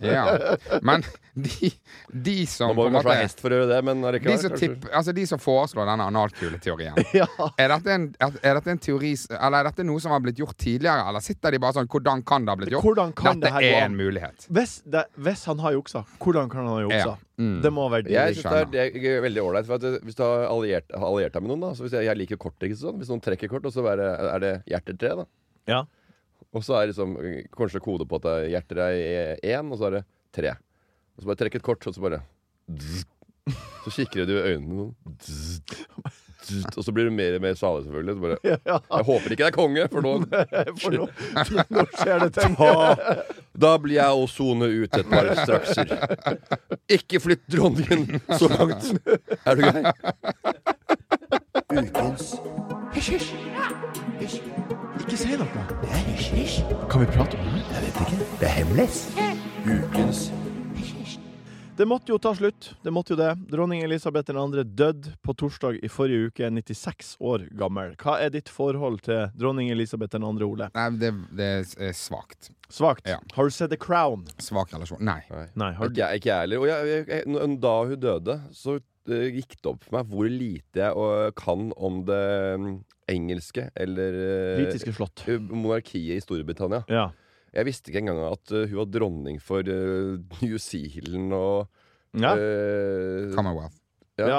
S4: ja. Men de, de
S5: Man
S4: som på
S5: må
S4: en
S5: jo kanskje ha
S4: måte
S5: hest for å gjøre det, men
S4: de
S5: allikevel.
S4: som,
S5: kanskje.
S4: tipp, altså de som foreslår denne analkuleteorien
S5: *laughs*
S2: Ja.
S4: er, dette en- er- er dette en teori s- Eller er dette noe som har blitt gjort tidligere? Eller sitter de bare sånn Hvordan kan det ha blitt gjort?
S2: Hvordan kan det
S4: dette
S2: her gå
S4: er
S2: an?
S4: en mulighet.
S2: hvis, det, hvis han har juksa, hvordan kan han ha juksa?
S4: Ja. Mm.
S2: Det må være det.
S5: Jeg synes det er, det er veldig ålreit. for at, eh, Hvis du har alliert, har alliert deg med noen, da så hvis jeg, jeg liker korttriks og sånn. Hvis noen trekker kort, og så er det, er det hjertetre, da.
S2: Ja.
S5: Og så er det liksom eh, kanskje kode på at det er hjerter er én, og så er det tre. Og så bare trekke et kort, og så bare Så kikker du i øynene sånn. Og så blir du mer og mer salig, selvfølgelig. Så bare,
S2: *laughs* Ja.
S5: jeg håper ikke det er konge, for nå
S2: For nå, nå skjer det ting.
S5: Ta- Da blir jeg å sone ut et par strakser. Ikke flytt dronningen så langt. Er du grei?
S2: Ikke si noe. Kan vi prate om det? Jeg vet ikke. Det er hemmelig. Det måtte jo ta slutt. Det måtte jo det. Dronning Elisabeth 2. døde på torsdag i forrige uke, 96 år gammel. Hva er ditt forhold til dronning Elisabeth 2., Ole?
S4: Nei, det, det er svakt.
S2: Svakt.
S4: Ja.
S2: Har du sett The Crown?
S4: Svak relasjon. Nei.
S2: Nei. Har du...
S5: Ikke jeg ikke jeg heller. Og jeg, jeg, jeg, n- da hun døde, så eh, gikk det opp for meg hvor lite jeg eh, kan om det mm, engelske eller eh,
S2: Britiske slott.
S5: eh, monarkiet i Storbritannia.
S2: Ja.
S5: Jeg visste ikke engang at eh, hun var dronning for eh, *laughs* New Zealand og
S2: Ja.
S5: eh,
S4: Commonwealth.
S5: ja,
S2: ja,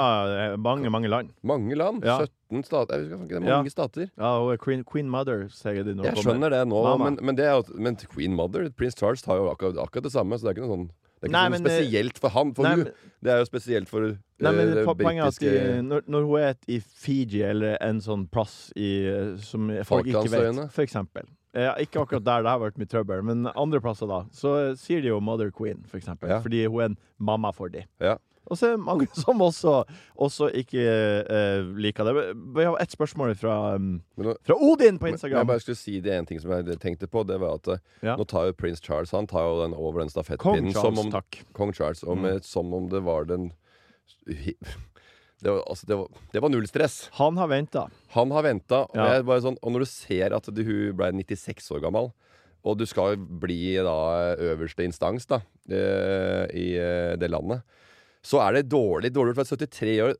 S2: eh, mange, mange land.
S5: mange land.
S2: Ja.
S5: 17 stater. Jeg husker ikke, det er
S2: Ja.
S5: mange stater.
S2: Ja, og Queen, Queen Mother, sier de nå.
S5: Jeg skjønner det nå,
S2: Mama.
S5: men, men, det er jo, men til Queen Mother, Prince Charles, tar jo akkurat, akkurat det samme. Så det er ikke noe sånn Det er ikke
S2: Nei,
S5: noe
S2: men, eh,
S5: spesielt for han. For
S2: nei,
S5: hun,
S2: men-
S5: Det er jo spesielt for
S2: Nei, men
S5: eh,
S2: po- poenget er at
S5: britiske
S2: de, når, når hun er et- i Fiji eller en sånn plass i, eh, som folk ikke vet,
S5: Falklandsøyene.
S2: for eksempel, Ja, ikke akkurat der det har vært mye trøbbel, men andre plasser da. Så eh, sier de jo Mother Queen, for eksempel,
S5: Ja.
S2: fordi hun er en mamma for de.
S5: Ja.
S2: Og så er det mange *laughs* som også, også ikke eh, liker det. Vi har ett spørsmål fra, um,
S5: Men nå-
S2: fra Odin på
S5: Men jeg
S2: Instagram.
S5: bare skulle si det en ting som jeg tenkte på. Det var at eh,
S2: Ja.
S5: nå tar jo prins Charles Han tar jo den over den
S2: Kong
S5: stafettpinnen.
S2: Charles,
S5: som om,
S2: takk. Mm.
S5: Kong Charles. Om, eh, Som om det var den *laughs* det var, altså, det, var, det var null stress.
S2: Han har venta.
S5: Han har venta. Og,
S2: Ja.
S5: jeg bare sånn, og når du ser at du, hun ble 96 år gammel, og du skal jo bli da øverste instans da, eh, i eh, det landet, så er det dårlig. Dårlig gjort for at 73 år.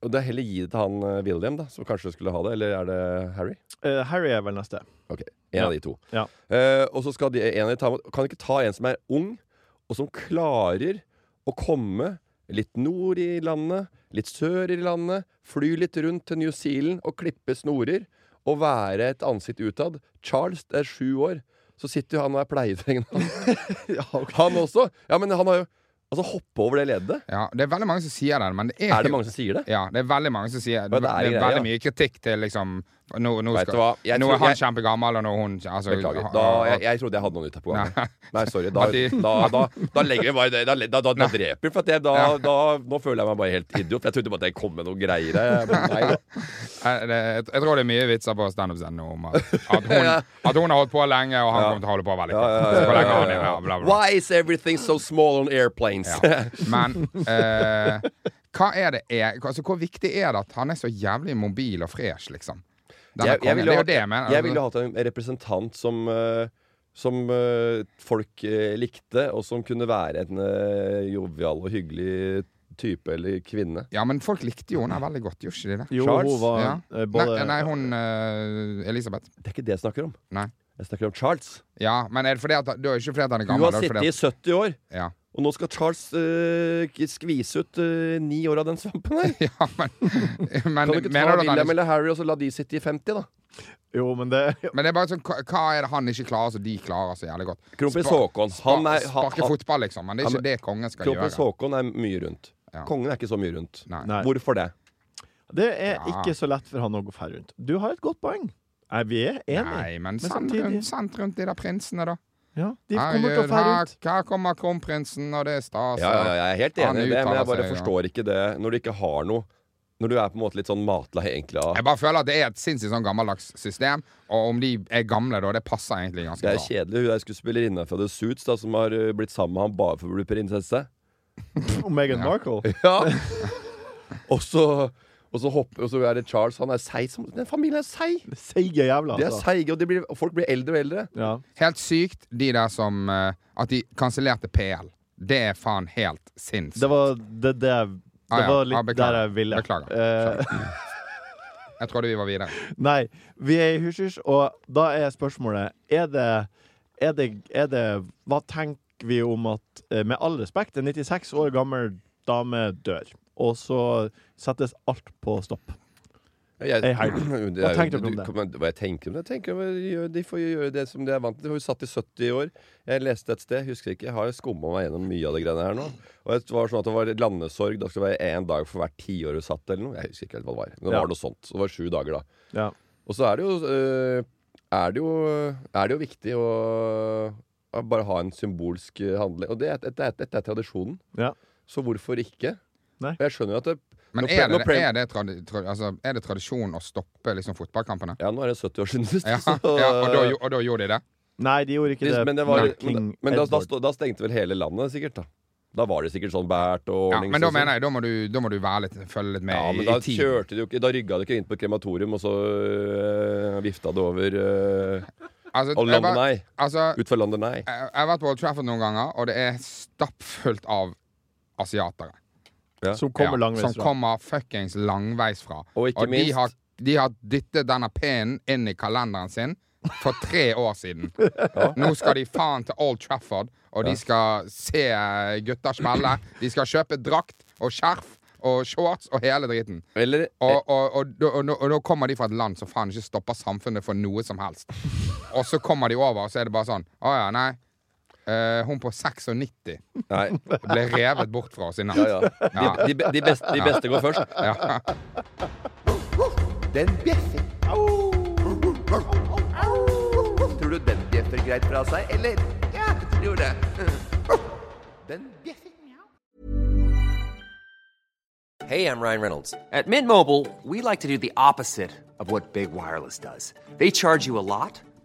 S5: Og det er heller gi det til han eh, William, da, som kanskje skulle ha det. Eller er det Harry?
S2: Eh, Harry er vel neste.
S5: Ok, En
S2: Ja.
S5: av de to.
S2: Ja.
S5: Eh, og så skal de, en av de ta imot Kan ikke ta en som er ung, og som klarer å komme litt nord i landet, litt sør i landet, fly litt rundt til New Zealand og klippe snorer og være et ansikt utad. Charles er sju år. Så sitter jo han og er pleietrengende.
S2: *laughs*
S5: Han også. Ja, men han har jo Altså, hoppe over det leddet.
S4: Ja, det er veldig mange som sier det, men det er,
S5: Er det mange som sier det?
S4: Ja, det er veldig mange som
S5: det er
S4: sier Det er
S5: greia.
S4: veldig mye kritikk til liksom Nå, nå,
S5: Vet du
S4: skal,
S5: hva? Jeg
S4: nå
S5: tror-
S4: er han
S5: jeg-
S4: kjempegammel, og nå er hun altså,
S5: Beklager.
S4: ha-
S5: Da,
S4: ha-
S5: jeg, jeg trodde jeg hadde noen ute på gangen.
S4: Nei.
S5: Nei, sorry. Da,
S4: At de-
S5: da, da, da legger vi bare det. Da, da, da, da dreper vi. For at jeg, da, da, nå føler jeg meg bare helt idiot. For jeg trodde bare at jeg kom med noen greier. her, men
S4: *laughs*
S5: Nei, da.
S4: jeg, jeg, jeg tror det er mye vitser på standup-scenen om at,
S5: *laughs*
S4: at, hun, at hun har holdt på lenge, og han kommer til å holde på veldig kort. Så hvor lenge har han igjen? Ja, bla, bla, bla.
S5: Why is everything so small on *laughs* airplanes?
S4: Ja. Men eh, hva er det er, altså, Hvor viktig er det at han er så jævlig mobil og fresh, liksom?
S5: Jeg,
S4: Denne
S5: jeg
S4: kongen.
S5: ville
S4: det er
S5: ha-
S4: jo det jeg mener.
S5: jeg ville hatt en representant som eh, som eh, folk eh, likte, og som kunne være en eh, jovial og hyggelig type eller kvinne.
S4: ja, men folk likte jo henne veldig godt, gjorde ikke de det?
S2: Jo,
S5: Charles?
S2: hun var
S4: Ja.
S2: eh, både
S4: Nei, nei, hun eh, Elisabeth.
S5: Det er ikke det jeg snakker om.
S4: Nei.
S5: Jeg snakker om Charles.
S4: Ja, men er det fordi at Du er jo ikke fordi at han er
S5: Hun
S4: gammel.
S5: har
S4: det er
S5: sittet
S4: fordi
S5: i
S4: at,
S5: 70 år.
S4: ja. *laughs*
S5: Og nå skal Charles eh, k- skvise ut eh, ni år av den svampen her.
S4: *laughs* ja, men, men
S5: Kan du ikke ta
S4: mener du at han
S5: William
S4: ikke,
S5: eller Harry og så la de sitte i 50, da?
S2: Jo, men det
S4: Men det er bare sånn, hva hva er det han ikke klarer, som de klarer så jævlig godt?
S5: Kronprins
S4: Spa-
S5: Haakon,
S4: spa-
S5: han er- han-
S4: Sparke
S5: han-
S4: fotball, liksom. Men det er
S5: Han-
S4: ikke det kongen skal
S5: Kronprins
S4: gjøre.
S5: Haakon er mye rundt.
S4: Ja.
S5: Kongen er ikke så mye rundt.
S4: Nei.
S2: Nei.
S5: Hvorfor det?
S2: Det er
S4: Ja.
S2: ikke så lett for han å gå færre rundt. Du har et godt poeng. Nei, vi er enige.
S4: Nei, men
S2: Men
S4: sendt
S2: samtidig-
S4: rundt, sendt rundt de der prinsene, da.
S2: Ja, de kommer til å
S4: Herregud,
S2: fære
S4: her,
S2: rundt.
S4: her kommer kronprinsen, og det er stas.
S5: Ja, ja, ja, jeg er helt
S4: Altså, Han
S5: enig i det, men
S4: uttaler
S5: jeg bare
S4: seg, ja.
S5: forstår ikke det når du ikke har noe. Når du er på en måte litt sånn matlei, egentlig.
S4: Jeg
S5: Av.
S4: bare føler at det er et sinnssykt sånn gammeldags system, og om de er gamle da, det passer egentlig ganske
S5: Det er
S4: bra.
S5: kjedelig. Hun er skuespillerinne fra The Suits da, som har eh, blitt sammen med han bare for å bli
S4: *laughs*
S5: prinsesse.
S2: Og Meghan Markle.
S5: Ja *laughs* Og så og så, hopper, og så er det Charles. Han er seig som Den familien er seig!
S2: Seige jævla,
S5: De er
S2: altså.
S5: seige, og, de blir- og folk blir eldre og eldre.
S2: Ja.
S4: Helt sykt, de der som eh, At de kansellerte PL. Det er faen helt sinnssykt.
S2: Det var det, det, jeg- det
S4: Ah, ja.
S2: var
S4: Ah,
S2: litt
S4: beklager.
S2: der jeg ville.
S4: Beklager.
S2: Eh,
S4: Jeg trodde vi var videre.
S2: nei, vi er i hysj-hysj, og da er spørsmålet Er det, er det, er det Hva tenker vi om at, eh, med all respekt, en 96 år gammel dame dør, og så settes alt på stopp?
S5: Jeg,
S2: Ei helg.
S5: Det
S2: Hva
S5: er jo-
S2: tenker du om det?
S5: kan man- Hva jeg tenker om det? Jeg tenker, om det- de får jo gjøre det som de er vant til. De har jo satt i 70 år. Jeg leste et sted, husker ikke, jeg har jo skumma meg gjennom mye av det greiene her nå. Og det var sånn at det var landesorg. Da skulle det være én dag for hvert tiår du satt, eller noe. Jeg husker ikke helt hva det var. Men det
S2: Ja.
S5: var noe sånt. Så det var sju dager, da.
S2: Ja.
S5: Og så er det jo øh, Er det jo, er det jo viktig å å bare ha en symbolsk øh, handling. Og det, er- dette, er- dette er tradisjonen.
S2: Ja.
S5: Så hvorfor ikke?
S2: Nei.
S5: Og Jeg skjønner jo at det,
S4: Men
S5: når pre-
S4: er det,
S5: når pre-
S4: er det, tradi tra altså, er det tradisjon å stoppe liksom, fotballkampene?
S5: Ja, nå er det 70 år siden sist.
S4: Ja,
S5: *laughs*
S4: ja,
S5: så-
S4: og, da, gjo- og da gjorde de det?
S2: Nei, de gjorde ikke
S5: Hvis-
S2: det.
S5: men det var,
S2: med
S5: men,
S2: King
S5: men da, da,
S2: Edward.
S5: sto- da stengte vel hele landet sikkert, da. Da var det sikkert sånn bært og
S4: Ja,
S5: ordnings-
S4: men da
S5: og sånn.
S4: mener jeg, da må du, da må du være litt, følge litt med
S5: ja, men
S4: i-
S5: da
S4: i tiden.
S5: kjørte du ikke Da rygga du ikke inn på et krematorium, og så øh, vifta det over øh,
S4: Altså,
S5: og
S4: jeg var-
S5: London Eye.
S4: altså,
S5: Utfor London Eye.
S4: jeg, jeg har vært på Old Trafford noen ganger, og det er stappfullt av asiatere.
S2: Som kommer
S4: Ja,
S2: langveis
S4: som
S2: fra.
S4: kommer fuckings langveis fra.
S5: Og ikke
S4: de
S5: minst-
S4: har, de har dyttet denne penen inn i kalenderen sin for tre år
S5: *laughs*
S4: siden. Nå skal de faen til Old Trafford, og de skal se eh, gutter smelle. De skal kjøpe drakt og skjerf og shorts og hele driten.
S5: Eller eh,
S4: Og, og, og, da- og, nå- og nå kommer de fra et land som faen ikke stopper samfunnet for noe som helst.
S5: *laughs*
S4: Og så kommer de over, og så er det bare sånn Å ja, nei. Eh, hun på 96
S5: Nei.
S4: ble revet bort fra oss i natt.
S5: Ja, ja. De, de, be- de, beste, de beste går først.
S3: Den bjeffer.
S5: Tror du
S3: bjeffer er greit fra seg, eller? Ja, jeg *laughs* tror det. Den bjeffer.
S7: Hey, I'm Ryan Reynolds. At Mint Mobile, we like to do the opposite of what Big Wireless does. They charge you a lot,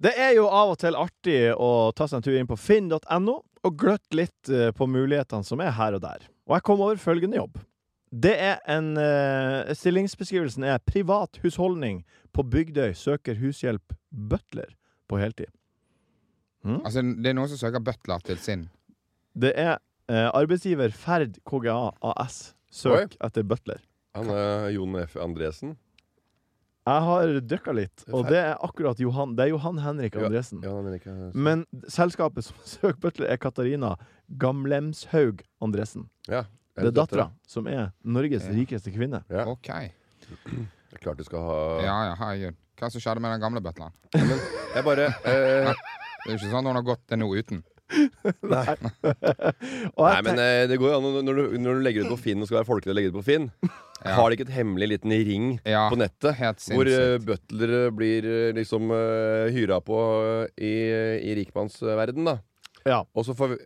S2: Det er jo av og til artig å ta seg en tur inn på finn.no og gløtte litt eh, på mulighetene som er her og der. Og jeg kom over følgende jobb. Det er en eh, Stillingsbeskrivelsen er 'Privat husholdning på Bygdøy søker hushjelp butler på heltid'.
S5: Mm.
S4: Altså, det er noen som søker butler til sin.
S2: Det er eh, arbeidsgiver Ferd KGA AS. Søk etter butler.
S5: Han er Jon F. Andresen.
S2: Jeg har dykka litt, og
S5: Ferd.
S2: det er akkurat Johan Det er Johan Henrik Andresen.
S5: Ja, han er ikke
S2: Men selskapet som *laughs* søker butler, er Katarina Gamlemshaug Andresen.
S5: ja,
S2: Det er
S5: hennes
S2: dattera som er Norges rikeste kvinne.
S5: Ja.
S4: OK. Ja,
S5: Det er Klart du skal ha
S4: ja, herregud. Hva som skjedde med den gamle butleren?
S5: Men jeg bare eh,
S2: *laughs*
S4: Det er jo ikke sånn hun har gått til noe uten.
S2: Og
S5: Nei,
S2: jeg
S5: men eh, det går jo an å- når du, når du legger ut på Finn og skal være folkelig og legge ut på Finn, har de ikke et hemmelig liten ring
S4: Ja,
S5: på nettet
S4: helt
S5: hvor uh,
S4: sinnssykt.
S5: butlere blir eh, liksom eh, hyra på eh, i, i rikmannsverden, da.
S2: tenk- ja.
S5: Og så får vi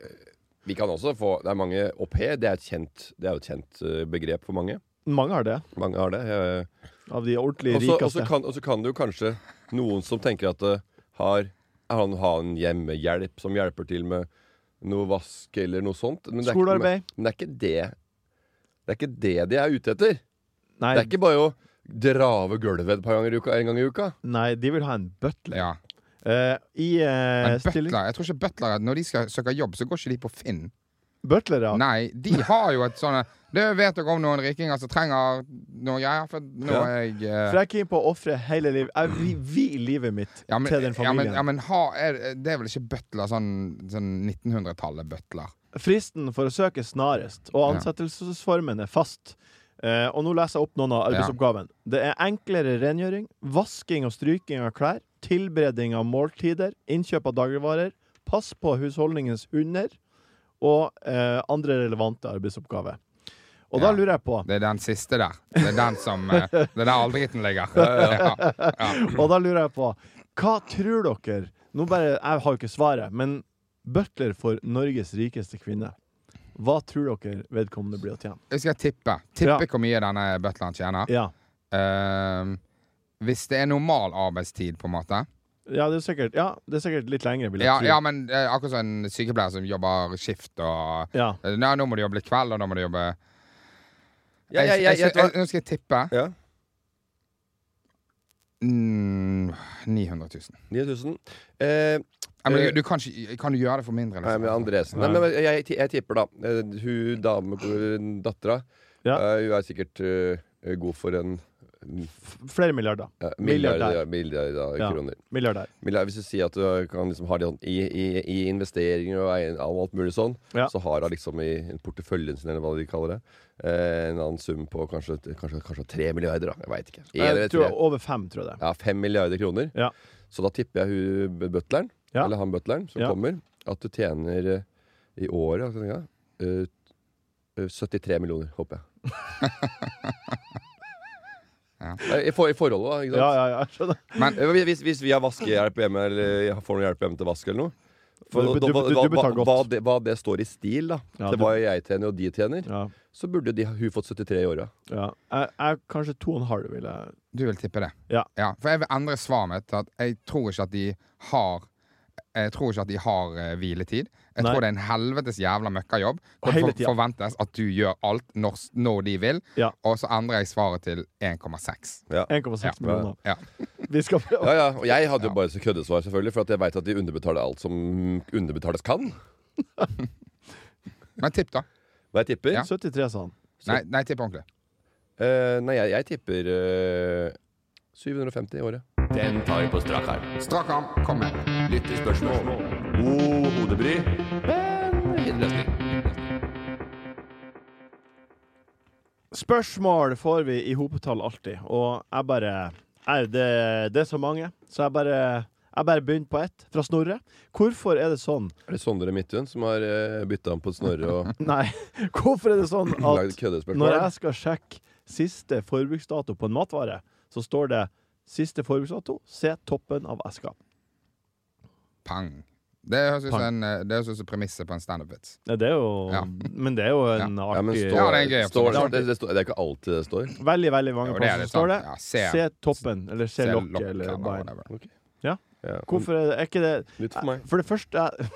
S5: Vi kan også få Det er mange au pair. Det er, et kjent, det er jo et kjent eh, begrep for mange.
S2: Mange har det.
S5: Mange har det. eh,
S2: Av de ordentlig
S5: Og så- Og så
S2: rikeste.
S5: kan, og så kan det jo kanskje noen som tenker at det har han har en hjemmehjelp som hjelper til med noe vask eller noe sånt. Men det er ikke-
S2: Skolearbeid.
S5: Men det er ikke det Det er ikke det de er ute etter.
S2: Nei,
S5: Det er ikke bare å drave gulvet et par ganger i uka, en gang i uka.
S2: nei, de vil ha en butler.
S4: Ja.
S2: Eh, I eh,
S4: Men
S2: stilling...
S4: butler, jeg tror ikke butler Når de skal søke jobb, så går ikke de på Finn.
S2: Butler, ja.
S4: Nei, de har jo et sånn Det vet dere om noen rikinger som trenger noe greier. For nå
S5: Ja.
S4: er jeg eh,
S2: For jeg er keen på å ofre hele livet Jeg vil vi livet mitt
S4: ja, men,
S2: til den
S4: ja, men,
S2: familien.
S4: ja, men ha, er, det er vel ikke butler sånn, sånn 1900-tallet-butler?
S2: Fristen for å søke snarest, og ansettelsesformen er fast. Eh, og nå leser jeg opp noen av arbeidsoppgaven. Det er enklere rengjøring, vasking og stryking av klær, tilberedning av måltider, innkjøp av dagligvarer, pass på husholdningens hunder og eh, andre relevante arbeidsoppgaver. Og da
S4: Ja.
S2: lurer jeg på
S4: Det er den siste der. Det er den som
S2: *laughs*
S4: eh, Det er der all driten ligger. Ja,
S2: Og da lurer jeg på Hva tror dere Nå bare, Jeg har jo ikke svaret, men butler for Norges rikeste kvinne. Hva tror dere vedkommende blir å tjene?
S4: Jeg skal tippe. Tippe
S2: Ja.
S4: hvor mye denne butleren tjener.
S2: Ja,
S4: Ehm, hvis det er normal arbeidstid, på en måte.
S2: ja, det, er sikkert, ja det er sikkert litt lengre, vil jeg
S4: Ja,
S2: tro.
S4: ja men eh, akkurat som en sykepleier som jobber skift og
S2: Ja.
S4: Eh, Nei, nå må du jobbe litt kveld, og nå må du jobbe
S5: Ja, ja,
S4: jeg,
S5: ja,
S4: jeg,
S5: jeg tror-
S4: Nå skal jeg tippe
S5: Ja.
S4: mm, 900 000.
S5: 9000. Eh,
S4: Ja, men
S5: Eh,
S4: du, du kan, ikke, kan du gjøre det for mindre?
S5: nei,
S4: Liksom?
S5: men Andresen Nei, men jeg, jeg, jeg tipper, da. eh, Hun dame dattera
S2: Ja.
S5: eh, Hun er sikkert eh, god for en
S2: F- Flere milliarder.
S5: ja,
S2: Milliardær.
S5: milliard, milliard av
S2: Ja.
S5: kroner.
S2: Milliardær.
S5: Men la- Hvis du sier at du kan liksom ha det sånn i, i, i investeringer og eiendom og alt mulig sånn,
S2: Ja.
S5: så har hun liksom i porteføljen sin, eller hva de kaller det, eh, en annen sum på kanskje, kanskje, kanskje tre milliarder, da. Jeg veit ikke. En eller
S2: Jeg tror
S5: tre.
S2: over fem, tror jeg det.
S5: Ja, fem milliarder kroner.
S2: Ja.
S5: Så da tipper jeg hun butleren,
S2: Ja.
S5: eller han butleren som
S2: Ja.
S5: kommer, at du tjener eh, i året hva skal jeg tenke, eh, eh, 73 millioner, håper jeg. Nei, I, for, I forholdet, da. Ikke sant?
S2: Ja, ja, ja, skjønner.
S5: Eh, Hvis, hvis vi har vaskehjelp hjemme, eller jeg får noe hjelp hjemme til vask eller noe
S2: Du- du- du-
S5: hva-
S2: du betaler
S5: hva,
S2: godt.
S5: hva, det, hva det står i stil, da,
S2: Ja,
S5: til
S2: du-
S5: hva jeg tjener og de tjener,
S2: Ja,
S5: så burde de, hun fått 73 i åra.
S2: ja. Jeg, jeg, kanskje to og en halv, vil jeg
S4: Du vil tippe det?
S2: Ja.
S4: For jeg vil endre svaret mitt. til At jeg tror ikke at de har Jeg tror ikke at de har eh, hviletid. Jeg
S2: Nei.
S4: tror det er en helvetes jævla
S2: Og
S4: møkkajobb. Hvor
S2: hele
S4: det
S2: tida.
S4: for- forventes at du gjør alt når, når de vil,
S2: Ja.
S4: og så endrer jeg svaret til 1,6.
S5: Ja.
S2: 1,6
S4: Ja.
S2: millioner.
S4: Ja.
S2: Vi skal prøve. *laughs*
S5: Ja, ja. Og jeg hadde jo bare så køddesvar, selvfølgelig, for at jeg veit at de underbetaler alt som underbetales kan.
S4: Men tipp, da.
S5: Hva jeg tipper?
S4: Ja.
S2: 73, sa han.
S4: Nei, nei tipp ordentlig.
S5: Eh, nei, jeg, jeg tipper eh, 750 i året.
S3: Den tar vi på strak arm.
S4: Strak arm, kom med.
S3: Lyttespørsmål. God hodebry. Men fin løsning.
S2: Spørsmål får vi i hopetall alltid, og jeg bare er det, det er så mange, så jeg bare, jeg bare begynte på ett, fra Snorre. Hvorfor er det sånn
S5: Er det Sondre Midtun som har uh, bytta om på Snorre og
S2: Nei, *laughs* hvorfor er det sånn
S5: lagd
S2: at
S5: køddespørsmål?
S2: når jeg skal sjekke siste forbruksdato på en matvare, så står det siste forbruksdato, se toppen av eska.
S4: Pang. Det høres ut som
S2: Pang.
S4: en, eh, det høres ut som premisset på en standup-vits.
S2: Ja, Det er jo
S4: Ja.
S2: Men det er jo en
S5: Ja, men
S2: artig
S5: står,
S4: Ja, det er en gøy
S5: står,
S4: observasjon.
S5: det, det, står, det er ikke alltid det står.
S2: Veldig, veldig mange
S4: Jo, det er
S2: plasser
S4: litt
S2: så står det
S4: sant. Ja, se-
S2: se toppen, eller se
S4: Se
S2: lokket,
S4: lokket
S2: eller
S4: eller
S2: bein.
S4: whatever.
S5: Ja, men
S2: Hvorfor er det er ikke det
S5: Nytt for meg.
S2: For det første jeg,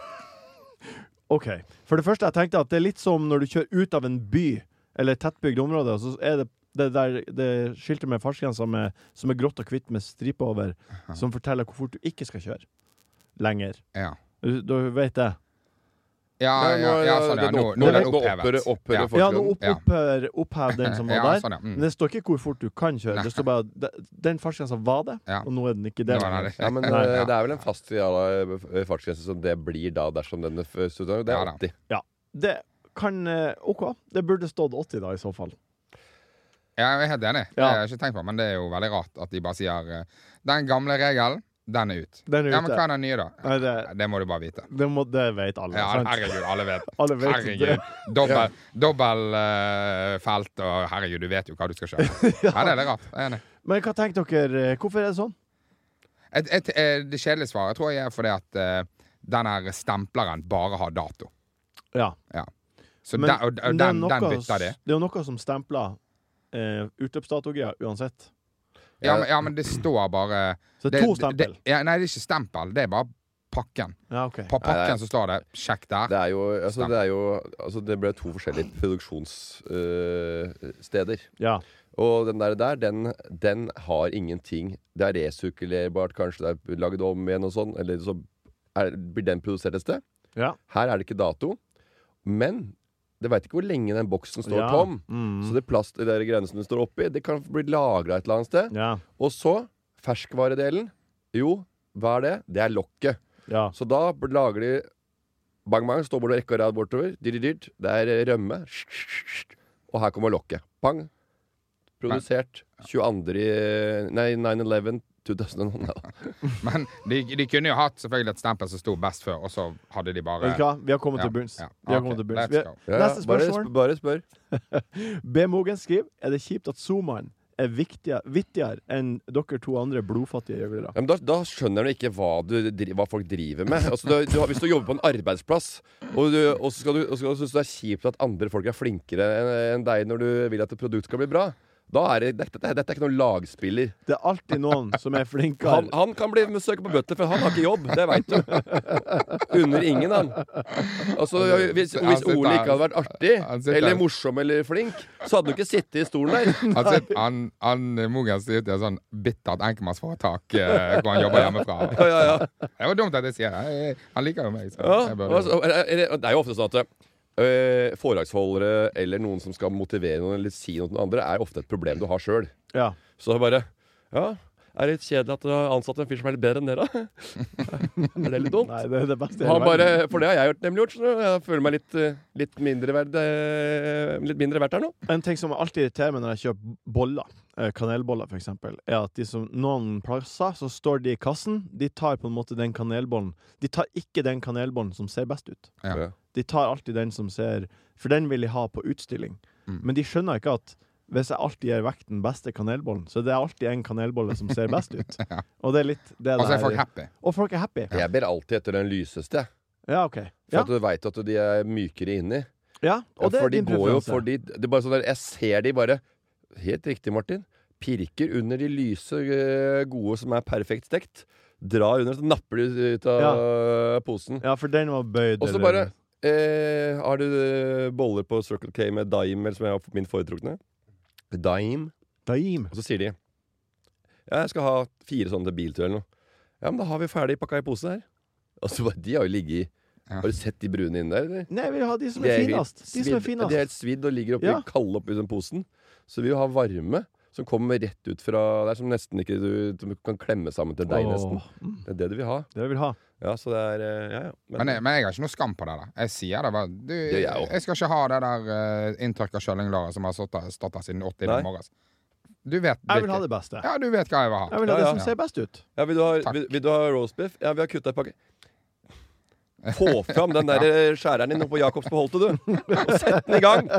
S2: *laughs* OK. For det første, jeg tenkte at det er litt som når du kjører ut av en by eller et tettbygd område, og så er det det der det skiltet med fartsgrensa med- som er grått og hvitt med striper over, som forteller hvor fort du ikke skal kjøre lenger.
S4: Ja.
S2: Du, du vet det?
S4: Ja,
S5: Nei,
S4: ja, ja,
S5: nå-
S4: sånn, ja.
S5: den
S4: Nå,
S5: opp-
S4: nå er den
S5: nå opphører-
S4: opphevet.
S5: opphører
S4: Ja.
S5: for-
S2: Ja, nå opp,
S4: Ja.
S2: opphør, opphev den
S4: *laughs*
S2: som var
S4: Ja,
S2: der.
S4: sånn, ja. Mm.
S2: Men det står ikke hvor fort du kan kjøre. Det står bare at de- den fartsgrensa var det,
S4: Ja.
S2: og nå er den ikke det.
S4: Nå er den
S2: lenger.
S4: det.
S5: Ja, men
S2: Nei,
S5: eh,
S4: ja.
S5: det er vel en fast jævla, eh, fartsgrense som det blir da, dersom den f- så Det
S4: Ja,
S5: er
S4: da.
S5: 80.
S2: Det kan eh, OK. Det burde stått 80 da, i så fall.
S4: Ja, jeg er helt enig. Det
S2: Ja.
S4: har jeg ikke tenkt på, men det er jo veldig rart at de bare sier eh, Den gamle regelen, den er ut.
S2: Den er
S4: Ja, men
S2: ute.
S4: hva er den nye, da?
S2: Nei, det,
S4: Ja, Det må du bare vite.
S2: det, må, det vet alle.
S4: Ja,
S2: sant?
S4: herregud, alle vet.
S2: Alle vet det.
S4: Herregud. Dobbel, dobbel eh, felt og herregud, du vet jo hva du skal kjøre. ja. det er litt rart. Jeg er enig.
S2: Men hva tenker dere? eh, Hvorfor er det sånn?
S4: Et, et, eh, det kjedelige svaret tror jeg er fordi at eh, den her stempleren bare har dato.
S2: Ja,
S4: Så
S2: men
S4: den, og, og
S2: men det er
S4: den,
S2: noe
S4: den bytter de.
S2: s- Det er jo noe som stempler eh, utløpsdatogreier uansett.
S4: Ja men, ja, men det står bare
S2: Så eh, det
S4: det-
S2: er to
S4: det-
S2: stempel.
S4: det- ja, nei, det er ikke stempel. Det er bare pakken.
S2: Ja, ok.
S4: På
S5: Nei, nei.
S4: pakken så står det 'sjekk der'.
S5: Det er jo, altså, det, er jo altså, det ble to forskjellige produksjonssteder.
S2: Ja.
S5: og den der, der den, den har ingenting. Det er resirkulerbart, kanskje det er laget om igjen og sånn. Eller så er, blir den produsert et sted.
S2: Ja.
S5: Her er det ikke dato. Men det veit ikke hvor lenge den boksen står
S2: Ja.
S5: tom.
S2: Mm.
S5: Så det plast i de greiene som den står oppi, det kan bli lagra et eller annet sted.
S2: Ja.
S5: Og så ferskvaredelen. Jo, hva er det? Det er lokket.
S2: ja.
S5: Så da lager de Bang bang, står bortover rekke og rad bortover. Dyrt, dyrt. Det er rømme. Og her kommer lokket. Bang. Produsert 22. i- Nei, 9-11 2000 Nei da.
S4: Men de, de kunne jo hatt selvfølgelig et stempel som sto 'best før', og så hadde de bare
S2: Vet du hva? Vi har kommet
S4: Ja,
S2: til bunns.
S4: ja.
S2: Vi har
S4: Ok,
S2: kommet til
S4: let's
S2: bunns. Vi-
S4: go.
S5: Ja, ja,
S2: Neste
S5: bare
S2: spørsmål.
S5: sp- Bare spør.
S2: B. Mogen skriver Er det kjipt at zoomaen er viktigere, vittigere enn dere to andre blodfattige gjøglere.
S5: Ja, men da, da skjønner du ikke hva, du, dri- hva folk driver med. Altså, du, du, har- hvis du jobber på en arbeidsplass, og, du, og så skal du, og så skal du synes det er kjipt at andre folk er flinkere enn enn deg når du vil at et produkt skal bli bra, da er det, dette, dette, dette er ikke noen lagspiller.
S2: Det er alltid noen som er flinkere.
S5: Han, han kan bli søke på bøtter, for han har ikke jobb. Det veit du. Under ingen, han. Altså, hvis,
S4: Han
S5: hvis
S4: sitter
S5: Ole
S4: her.
S5: ikke hadde vært artig,
S4: Han sitter her.
S5: eller morsom eller flink, så hadde du ikke sittet i stolen der.
S4: Han, sitter- han, han Mogens sier ut i et sånn bittert enkeltmannsforetak eh, hvor han jobber hjemmefra.
S2: *laughs*
S5: Ja, ja, ja.
S4: Det var dumt at jeg sier det. Jeg- Han liker jo meg. Så
S5: Ja,
S4: jeg burde-
S5: altså, er, er, det er jo ofte sånn at øh, foredragsholdere eller noen som skal motivere noen eller si noe til noen andre, er ofte et problem du har sjøl.
S2: Ja.
S5: Så det er bare Ja, er det litt kjedelig at du har ansatt en fyr som er litt bedre enn dere? *laughs* er det litt dumt?
S2: Nei, det er det beste i hele
S5: Han bare,
S2: verden.
S5: for det har jeg gjort, nemlig gjort. Så jeg føler meg litt, øh, litt mindre verd øh, Litt mindre verdt her nå.
S2: En ting som alltid irriterer meg når jeg kjøper boller, eh, kanelboller for eksempel, er at de som, noen plasser så står de i kassen, de tar på en måte den kanelbollen. De tar ikke den kanelbollen som ser best ut.
S4: Ja.
S2: De tar alltid den som ser For den vil de ha på utstilling.
S5: Mm.
S2: Men de skjønner ikke at hvis jeg alltid gir vekk den beste kanelbollen, så det er alltid en kanelbolle som ser best
S5: *laughs*
S2: ut. Og det er litt det
S4: Og
S2: det
S4: så er
S2: her-
S4: folk happy.
S2: Og folk er happy. Ja,
S5: Jeg ber alltid etter den lyseste,
S2: OK.
S5: for
S2: Ja,
S5: at du veit at de er mykere inni.
S2: ja.
S5: Ja,
S2: Og det er
S5: for de
S2: din
S5: går jo
S2: preferanse.
S5: for de, det er bare sånn der, Jeg ser de bare eh, Helt riktig, Martin. Pirker under de lyse, øh, gode som er perfekt stekt. drar under, så napper de ut av eh, posen.
S2: Ja, for den var bøyd.
S5: Og så
S2: eller-
S5: bare eh, Har du eh, boller på Circle K med dime, eller som er min foretrukne? Dime.
S2: Daim.
S5: Og så sier de Ja, jeg skal ha fire sånne til biltur eller noe. Ja, men da har vi ferdig pakka i pose her. Og så bare, De har jo ligget i.
S4: Ja.
S5: Har du sett de brune inni der, eller?
S2: Nei, vi vil ha de som
S5: De
S2: er
S5: helt
S2: finest. De som er
S5: svidd- de er
S2: finest.
S5: helt svidd og ligger oppi
S2: Ja.
S5: kalde oppi den posen. Så vi vil ha varme som kommer rett ut fra Det er som nesten ikke du, du kan klemme sammen til deg, nesten.
S2: Åh,
S5: Det er det du vil ha.
S2: Det vil vi ha.
S5: Ja, så det er eh, Ja, ja.
S4: Men, jeg- men jeg har ikke noe skam på det. da Jeg sier det bare. Du,
S5: er jeg også.
S4: jeg skal ikke ha det der uh, inntørka kjøllinglåret som har stått der, stått der siden 80 i
S5: Nei.
S4: morges. Du vet
S2: Jeg vil
S4: hvilket-
S2: ha det beste.
S4: Ja, du vet hva jeg vil ha.
S2: Jeg vil ha
S5: Ja,
S2: det
S5: ja.
S2: som ser best ut. *laughs*
S5: Ja, vil du ha,
S4: Takk.
S5: vil, vil du ha roastbiff? Ja, vi har kutta i pakke. Få fram den der eh, skjæreren din oppå Jacobs på Holte, du. Og sett den i gang.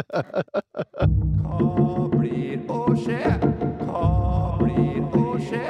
S3: Hva blir å skje? Hva blir å skje?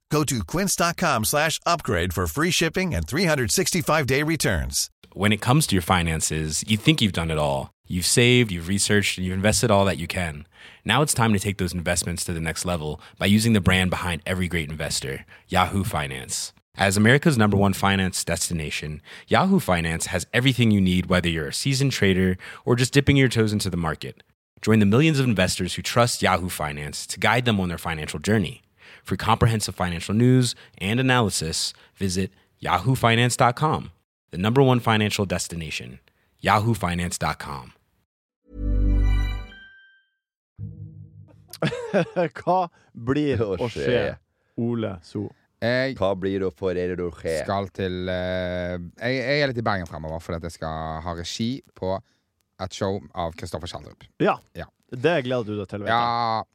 S8: Go to quince.com slash upgrade for free shipping and 365-day returns.
S9: When it comes to your finances, you think you've done it all. You've saved, you've researched, and you've invested all that you can. Now it's time to take those investments to the next level by using the brand behind every great investor, Yahoo Finance. As America's number one finance destination, Yahoo Finance has everything you need, whether you're a seasoned trader or just dipping your toes into the market. Join the millions of investors who trust Yahoo Finance to guide them on their financial journey. For comprehensive financial news and analysis, visit yahoofinance.com, the number one financial destination, yahoofinance.com.
S2: Hva blir
S5: Å,
S2: å
S5: skje.
S2: skje? Ole So.
S4: Jeg
S5: Hva blir å forere å skje?
S4: skal til eh, jeg, jeg er litt i Bergen fremover fordi at jeg skal ha regi på et show av Kristoffer Kjeldrup.
S2: Ja.
S4: Ja.
S2: Det gleder du deg til, vet jeg.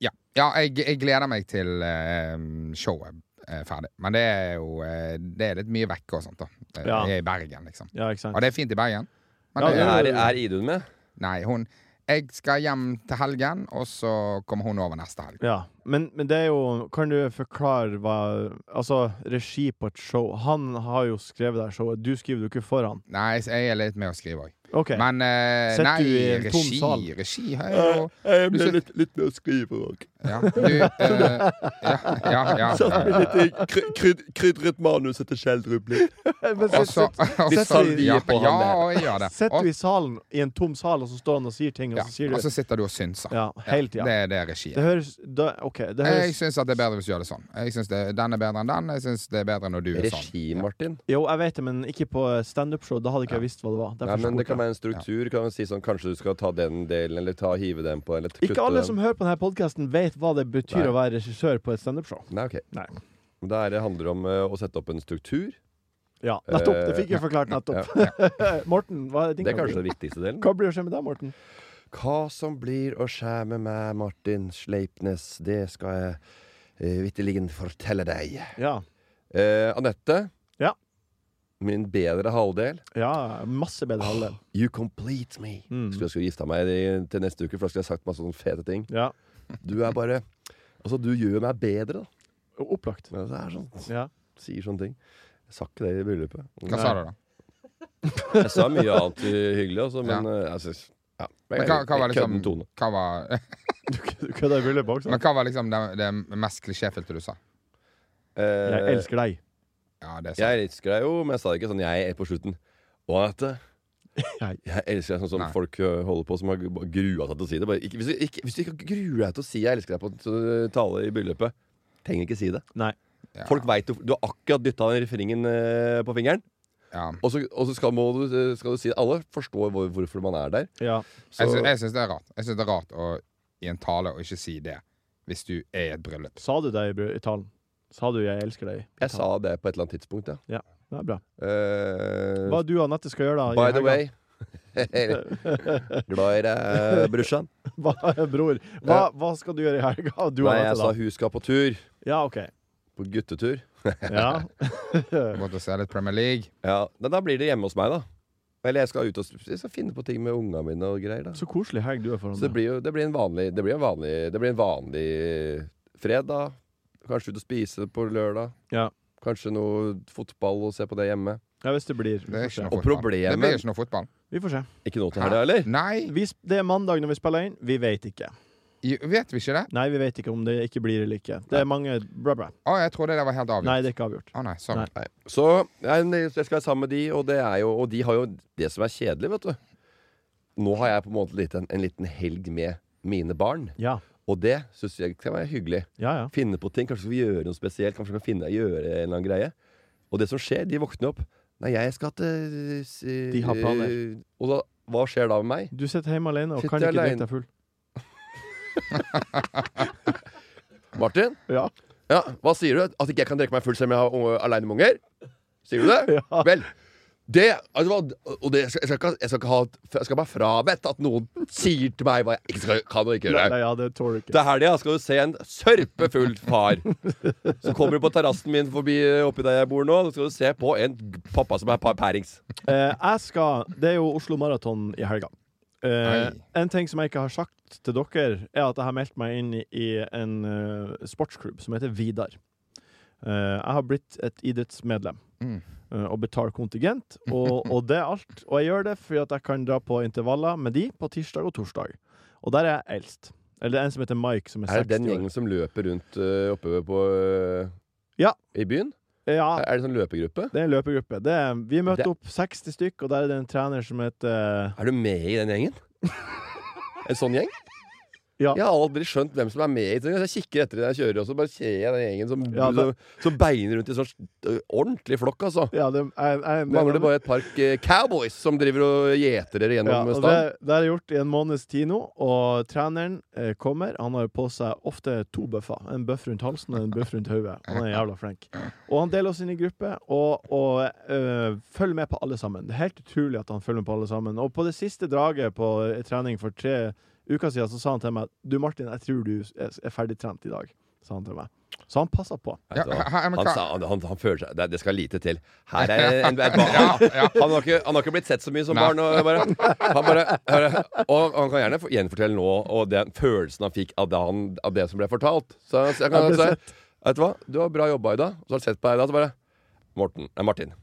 S4: Ja, ja, ja jeg, jeg gleder meg til eh, showet er ferdig. Men det er jo eh, Det er litt mye vekke og sånt, da. Eh,
S2: Ja.
S4: Jeg er i Bergen, liksom.
S2: Ja, ikke sant?
S4: Og det er fint i Bergen. Men
S2: Ja,
S4: det,
S5: Er, er Idun med?
S4: Nei, hun Jeg skal hjem til helgen, og så kommer hun over neste helg.
S2: Ja, men, men det er jo Kan du forklare hva Altså, regi på et show Han har jo skrevet det her showet. Du skriver det jo ikke for han.
S4: Nei, så jeg er litt med å skrive òg.
S2: OK.
S4: Men eh,
S2: Sett
S4: nei,
S2: du i en tom
S4: regi,
S2: sal.
S4: regi har jeg jo
S5: Jeg
S4: ble
S5: litt, litt med å skrive bak.
S4: Ja, du
S2: *laughs*
S4: eh, ja, ja, ja.
S5: Krydret manuset til Skjeldrup litt.
S2: *laughs* Men
S4: Og
S2: sett-
S4: så og
S2: sett
S4: så-
S2: du i-
S4: ja,
S5: på han
S4: *laughs* ja,
S5: der.
S4: og jeg gjør det.
S2: Sett
S4: Og,
S2: du i salen, i en tom sal, og så står han og sier ting, og
S4: ja,
S2: så sier
S4: og så
S2: du
S4: sitter du og synser.
S2: Ja, hele tida.
S4: Det er det er
S2: Det
S4: regien.
S2: høres da, OK, det
S4: Jeg
S2: høres
S4: syns at det er bedre hvis du gjør det sånn. Jeg synes det, Den er bedre enn den. Jeg synes det er bedre når du er sånn.
S5: Regi, Martin.
S2: Jo, jeg vet det, men ikke på eh, standup-show. Da hadde ikke jeg visst hva det var. Derfor
S5: Nei, men
S2: spurte
S5: det kan
S2: jeg.
S5: være en struktur. Kan man si sånn, Kanskje du skal ta den delen, eller ta hive den på, eller kutte
S2: Ikke alle som
S5: den.
S2: hører på denne podkasten, vet hva det betyr
S5: Nei.
S2: å være regissør på et standup-show.
S5: Nei, ok.
S2: Nei.
S5: Men Da er det handler det om eh, å sette opp en struktur.
S2: Ja, nettopp. Det fikk jeg forklart
S5: Eh, Ja,
S2: nettopp.
S5: ja.
S2: *laughs* Morten, hva er din
S5: Det er kanskje den viktigste delen.
S2: Hva blir det å skje med deg, Morten?
S5: Hva som blir å skje med meg, Martin Sleipnes, det skal jeg uh, vitterligen fortelle deg.
S2: Ja.
S5: Eh, Anette.
S2: Ja.
S5: Min bedre halvdel.
S2: ja masse bedre halvdel.
S5: You complete me.
S2: Mm.
S5: Skulle ønske jeg gifta meg i- til neste uke, for da skulle jeg sagt masse sånne fete ting.
S2: Ja.
S5: Du er bare Altså, du gjør meg bedre, da.
S2: Opplagt. *laughs*
S5: Men Det er sånn,
S2: Ja.
S5: sier sånne ting. Jeg sa ikke det i bryllupet.
S4: Hva sa du, da?
S5: Jeg sa mye annet uh, hyggelig, altså, men eh, jeg synes, ja.
S4: Men hva, hva var
S5: Jeg
S4: liksom
S5: kødden tone.
S4: hva var, *laughs*
S2: Du kødder i bryllupet også?
S4: Men hva var liksom det, det mest klisjéfylte du sa?
S5: Eh,
S2: Jeg elsker deg.
S4: Ja, det er sånn. sant.
S5: Jeg elsker deg jo, men jeg sa det ikke sånn jeg på slutten. Og Anette,
S2: *laughs* Nei.
S5: jeg elsker deg sånn som
S4: Nei.
S5: folk ø, holder på, som har g- grua seg til å si det. Bare, ikke, hvis, du, ikke, hvis du ikke gruer deg til å si 'jeg elsker deg' på en ø, tale i bryllupet, trenger ikke si det.
S2: Nei.
S4: Ja,
S5: Folk vet jo Du har akkurat dytta den refrengen ø, på fingeren,
S4: ja.
S5: og så, og så skal, må du, ø, skal du si det. Alle forstår hvor, hvorfor man er der.
S2: Ja.
S5: Så,
S4: Jeg, syns, jeg syns det er rart. Jeg syns det er rart å, i en tale å ikke si det hvis du er i et bryllup.
S2: Sa du det i, bry- i talen? Sa du 'jeg elsker deg'? i
S5: jeg
S2: talen?
S5: sa det på et eller annet tidspunkt, ja.
S2: Det er bra.
S5: Eh,
S2: Hva du og Anette skal gjøre da? i
S5: by the
S2: helga?
S5: way *laughs* Glad i deg, brorsan.
S2: *laughs* Hva, bror, hva, hva skal du gjøre i helga? Du og
S5: Nei, jeg
S2: Anette,
S5: sa
S2: da?
S5: hun skal på tur.
S2: Ja, OK.
S5: På guttetur.
S2: Ja.
S4: Måtte se litt Premier League.
S5: Ja, men Da blir det hjemme hos meg, da. Eller jeg skal ut og jeg skal finne på ting med unga mine og greier. da
S2: *laughs* Så koselig helg du er foran
S5: Så det
S2: deg.
S5: blir jo det blir en vanlig Det blir en vanlig, det blir en vanlig fredag. Kanskje ut og spise på lørdag.
S2: Ja.
S5: Kanskje noe fotball og se på det hjemme.
S2: Ja, hvis det blir.
S4: Det er ikke noe
S5: Og
S4: fotball.
S5: problemet-
S4: Det blir ikke noe fotball.
S2: Vi får se.
S5: Ikke noe til
S4: Hæ?
S5: helga, eller?
S4: Nei,
S2: Vi, sp- det er mandag når vi spiller inn. Vi vet ikke.
S4: i- vet vi ikke det?
S2: Nei, vi vet ikke om det ikke blir eller ikke. Det er mange bra, bra.
S4: Å, jeg trodde det var helt avgjort.
S2: Nei, det er ikke avgjort.
S4: Å nei, sorry.
S2: Nei.
S5: Så nei, men jeg skal være sammen med de, og, det er jo, og de har jo det som er kjedelig, vet du. Nå har jeg på en måte litt en, en liten helg med mine barn,
S2: Ja.
S5: og det syns jeg kan være hyggelig.
S2: Ja, ja.
S5: Finne på ting, kanskje skal vi gjøre noe spesielt. Kanskje vi kan finne, gjøre en eller annen greie. Og det som skjer, de våkner opp. Nei, jeg skal til eh,
S2: De har planer.
S5: Og da, hva skjer da med meg?
S2: Du sitter hjemme alene og
S5: Sitter
S2: kan ikke
S5: alene.
S2: drikke deg full.
S5: Martin?
S2: Ja.
S5: Ja, Hva sier du? At ikke jeg kan drikke meg full selv om jeg har aleine med unger? Sier du det?
S2: *laughs* Ja.
S5: Vel, det, altså, hva- og det jeg, skal, jeg, skal ikke, jeg, skal ikke ha, jeg skal bare frabedt at noen sier til meg hva jeg ikke skal, kan og ikke
S2: Nei,
S5: gjøre.
S2: ja, det tåler du ikke.
S5: Til helga skal du se en sørpefull far. Så kommer du på terrassen min forbi oppi der jeg bor nå, så skal du se på en g- pappa som er pa- pærings.
S2: Eh, jeg skal Det er jo Oslo Maraton i helga. Eh,
S4: Nei.
S2: en ting som jeg ikke har sagt til dere, er at jeg har meldt meg inn i en eh, sportsklubb som heter Vidar. Eh, jeg har blitt et idrettsmedlem.
S4: Mm.
S2: eh, og betaler kontingent, og, og det er alt. Og jeg gjør det fordi at jeg kan dra på intervaller med de på tirsdag og torsdag. Og der er jeg eldst. Eller det er en som heter Mike, som er,
S5: Er
S2: 60
S5: det den
S2: år.
S5: gjengen som løper rundt øh, oppe på øh,
S2: Ja.
S5: i byen?
S2: Ja,
S5: Er det en sånn løpegruppe?
S2: det er en løpegruppe. Det er, vi møter
S5: Det-
S2: opp 60 stykk, og der er det en trener som heter
S5: Er du med i den
S2: *laughs*
S5: gjengen? En sånn gjeng?
S2: Ja.
S5: Jeg har aldri skjønt hvem som er med i den. Jeg kikker etter det jeg kjører, og så bare ser jeg den gjengen som,
S2: Ja, altså- det-
S5: som, som beiner rundt i sånn øh, ordentlig flokk, altså.
S2: Ja, det, jeg, jeg,
S5: Mangler bare et par eh, cowboys som driver og gjeter dere
S2: Ja, altså,
S5: gjennom
S2: og det,
S5: stand.
S2: det har jeg gjort i en måneds tid nå, og treneren eh, kommer. Han har på seg ofte to bøffer. En bøff rundt halsen og en bøff rundt hodet. Han er jævla flink. Og han deler oss inn i grupper og, og eh, følger med på alle sammen. Det er helt utrolig at han følger med på alle sammen. Og på det siste draget på eh, trening for tre uker siden så sa han til meg Du Martin, jeg tror du er, er ferdig trent i dag. Sa han til meg. Så han passer på.
S5: Vet du
S4: Ja,
S5: hva?
S4: her- men
S5: Altså, han,
S4: hva-
S5: sa, han, han, han føler seg Det, det skal lite til. Her er
S4: *laughs*
S5: en, en, en
S4: Ja, ja.
S5: Han, har ikke, han har ikke blitt sett så mye som
S4: Nei.
S5: barn. Og, bare, han bare, bare, og han kan gjerne få- gjenfortelle nå og den følelsen han fikk av det, han, av det som ble fortalt. Så jeg, jeg kan
S2: Han ble
S5: si Vet du hva, du har bra jobba i dag. Så har han sett på deg i dag, så bare Morten, nei, Martin.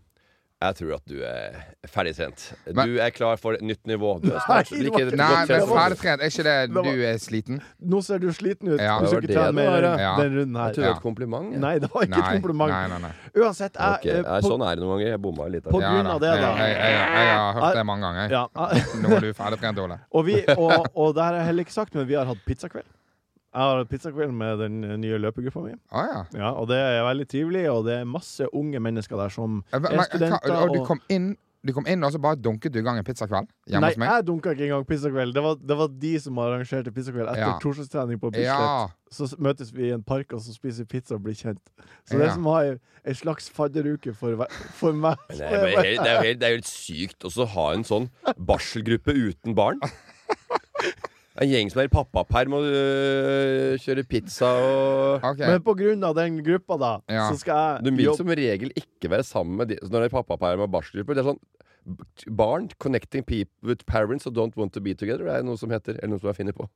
S5: Jeg tror at du er ferdigtrent.
S4: Men-
S5: Du er klar for et nytt nivå. Du er snart
S2: Nei,
S5: like
S2: Martin.
S4: Nei,
S5: godt
S4: men
S5: kjent som-
S4: ferdig trent. Er ikke det
S2: var-
S4: du er sliten?
S2: Nå ser du sliten ut.
S4: Ja.
S2: du skal
S5: Det
S2: ikke
S5: var
S2: trene
S5: det det
S2: mer
S5: var,
S4: ja.
S2: den runden
S5: Jeg
S2: her.
S5: trodde det var
S4: Ja.
S5: et kompliment. jeg.
S2: Nei, det var ikke
S4: Nei,
S2: et kompliment.
S4: nei, nei, nei.
S2: Uansett, jeg,
S5: Ok,
S2: eh,
S5: nei,
S2: på,
S5: Sånn er det noen ganger. Jeg bomma litt.
S2: på
S5: her.
S2: grunn av det,
S4: jeg,
S2: da.
S4: jeg, jeg, jeg har hørt det mange ganger.
S2: Ja, jeg-
S4: Nå er du ferdigtrent, Ole.
S2: *laughs* Og, vi, og, og det har jeg heller ikke sagt, men vi har hatt pizzakveld. Jeg har hatt pizzakveld med den nye løpegruppa mi.
S4: Å ja.
S2: Ja, og det er veldig trivelig, og det er masse unge mennesker der som
S4: Men,
S2: er
S4: hva,
S2: studenter.
S4: og du kom inn du kom inn, og så bare dunket du i gang en pizzakveld hjemme
S2: Nei,
S4: hos meg?
S2: jeg dunka ikke engang pizzakveld. Det var, det var de som arrangerte pizzakveld etter
S4: Ja.
S2: torsdagstrening på Bislett.
S4: Ja.
S2: Så s- møtes vi i en park og så spiser vi pizza og blir kjent. Så det
S4: Ja.
S2: er som å ha ei- ei slags fadderuke for, hver- for meg.
S5: Men Det er, jo helt, det, er jo helt, det er jo helt sykt også å ha en sånn barselgruppe uten barn. En gjeng som er i pappaperm og øh, kjører pizza og
S4: *laughs* Ok.
S2: Men på grunn av den gruppa, da,
S4: Ja.
S2: så skal
S5: Du
S2: jeg
S5: vil
S2: jobbe
S5: som regel ikke være sammen med de så når det er pappaperm og barselgruppe. Det er sånn b- Barn connecting people with parents who don't want to be together. Det er noe som heter, eller noe som jeg finner på.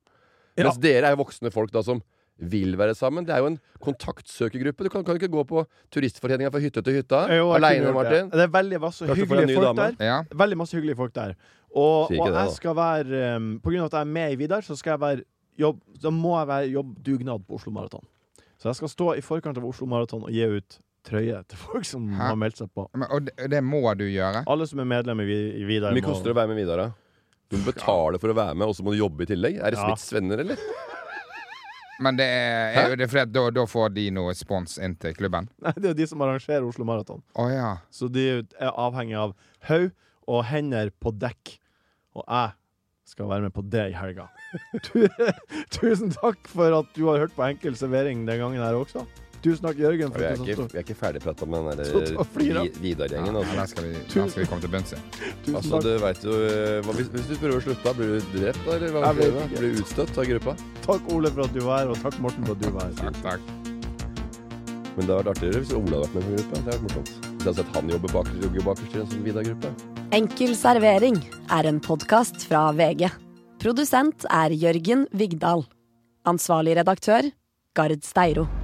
S2: Ja.
S5: Mens dere er jo voksne folk da som vil være sammen. Det er jo en kontaktsøkergruppe. Du kan, kan ikke gå på turistforeninga fra hytte til hytta
S2: Jo, jeg kunne
S5: aleine,
S2: gjort det.
S5: Martin.
S2: Det er veldig masse
S5: Kanskje du får en ny
S2: hyggelige folk
S5: dame?
S2: der.
S4: Ja.
S2: Veldig masse hyggelige folk der. Og, og
S5: Sier ikke det,
S2: jeg
S5: da.
S2: skal være um, På grunn av at jeg er med i Vidar, så skal jeg være jobb, så må jeg være jobbdugnad på Oslo Maraton. Så jeg skal stå i forkant av Oslo Maraton og gi ut trøye til folk som
S4: Hæ?
S2: har meldt seg på.
S4: Men, og det, det må du gjøre?
S2: Alle som er medlem i, Vi- i Vidar,
S5: Hvor mye koster det å være med Vidar, da? Du må betale for å være med, og så må du jobbe i tillegg? Er det
S2: Ja.
S5: Smiths venner, eller?
S4: Men det er, er jo det fordi at da, da får de noe spons inn til klubben?
S2: *laughs* Nei, det er jo de som arrangerer Oslo Maraton.
S4: Å ja.
S2: Så de er avhengig av haug og hender på dekk. Og jeg skal være med på det i helga. *laughs* Tu- Tusen takk for at du har hørt på Enkel servering den gangen her også. Tusen takk, Jørgen. For
S5: Vi er
S2: at du
S5: ikke,
S2: satt
S5: vi er ikke ferdigprata med den
S2: *laughs* Så ta
S5: der
S2: flir, da.
S5: Vi- Vidar-gjengen.
S4: ja
S5: Altså.
S4: den, skal vi, den skal vi komme til bunns i.
S2: opp. Tusen
S5: Altså,
S2: takk.
S5: du vet jo, eh, hva, hvis, hvis du prøver å slutte, da blir du drept, da? Eller hva
S2: Jeg vet
S5: skjer da?
S2: ikke.
S5: Blir du utstøtt av gruppa?
S2: Takk, Ole, for at du var her, og takk, Morten, for at du var her.
S4: Takk, takk.
S5: Men det hadde vært artigere hvis Ola hadde vært med på gruppe. Det hadde vært morsomt. Jeg har sett han jobbe bakerst jogge bakerst i en sånn Vida-gruppe.
S1: Enkel servering er en podkast fra VG. Produsent er Jørgen Vigdal. Ansvarlig redaktør Gard Steiro.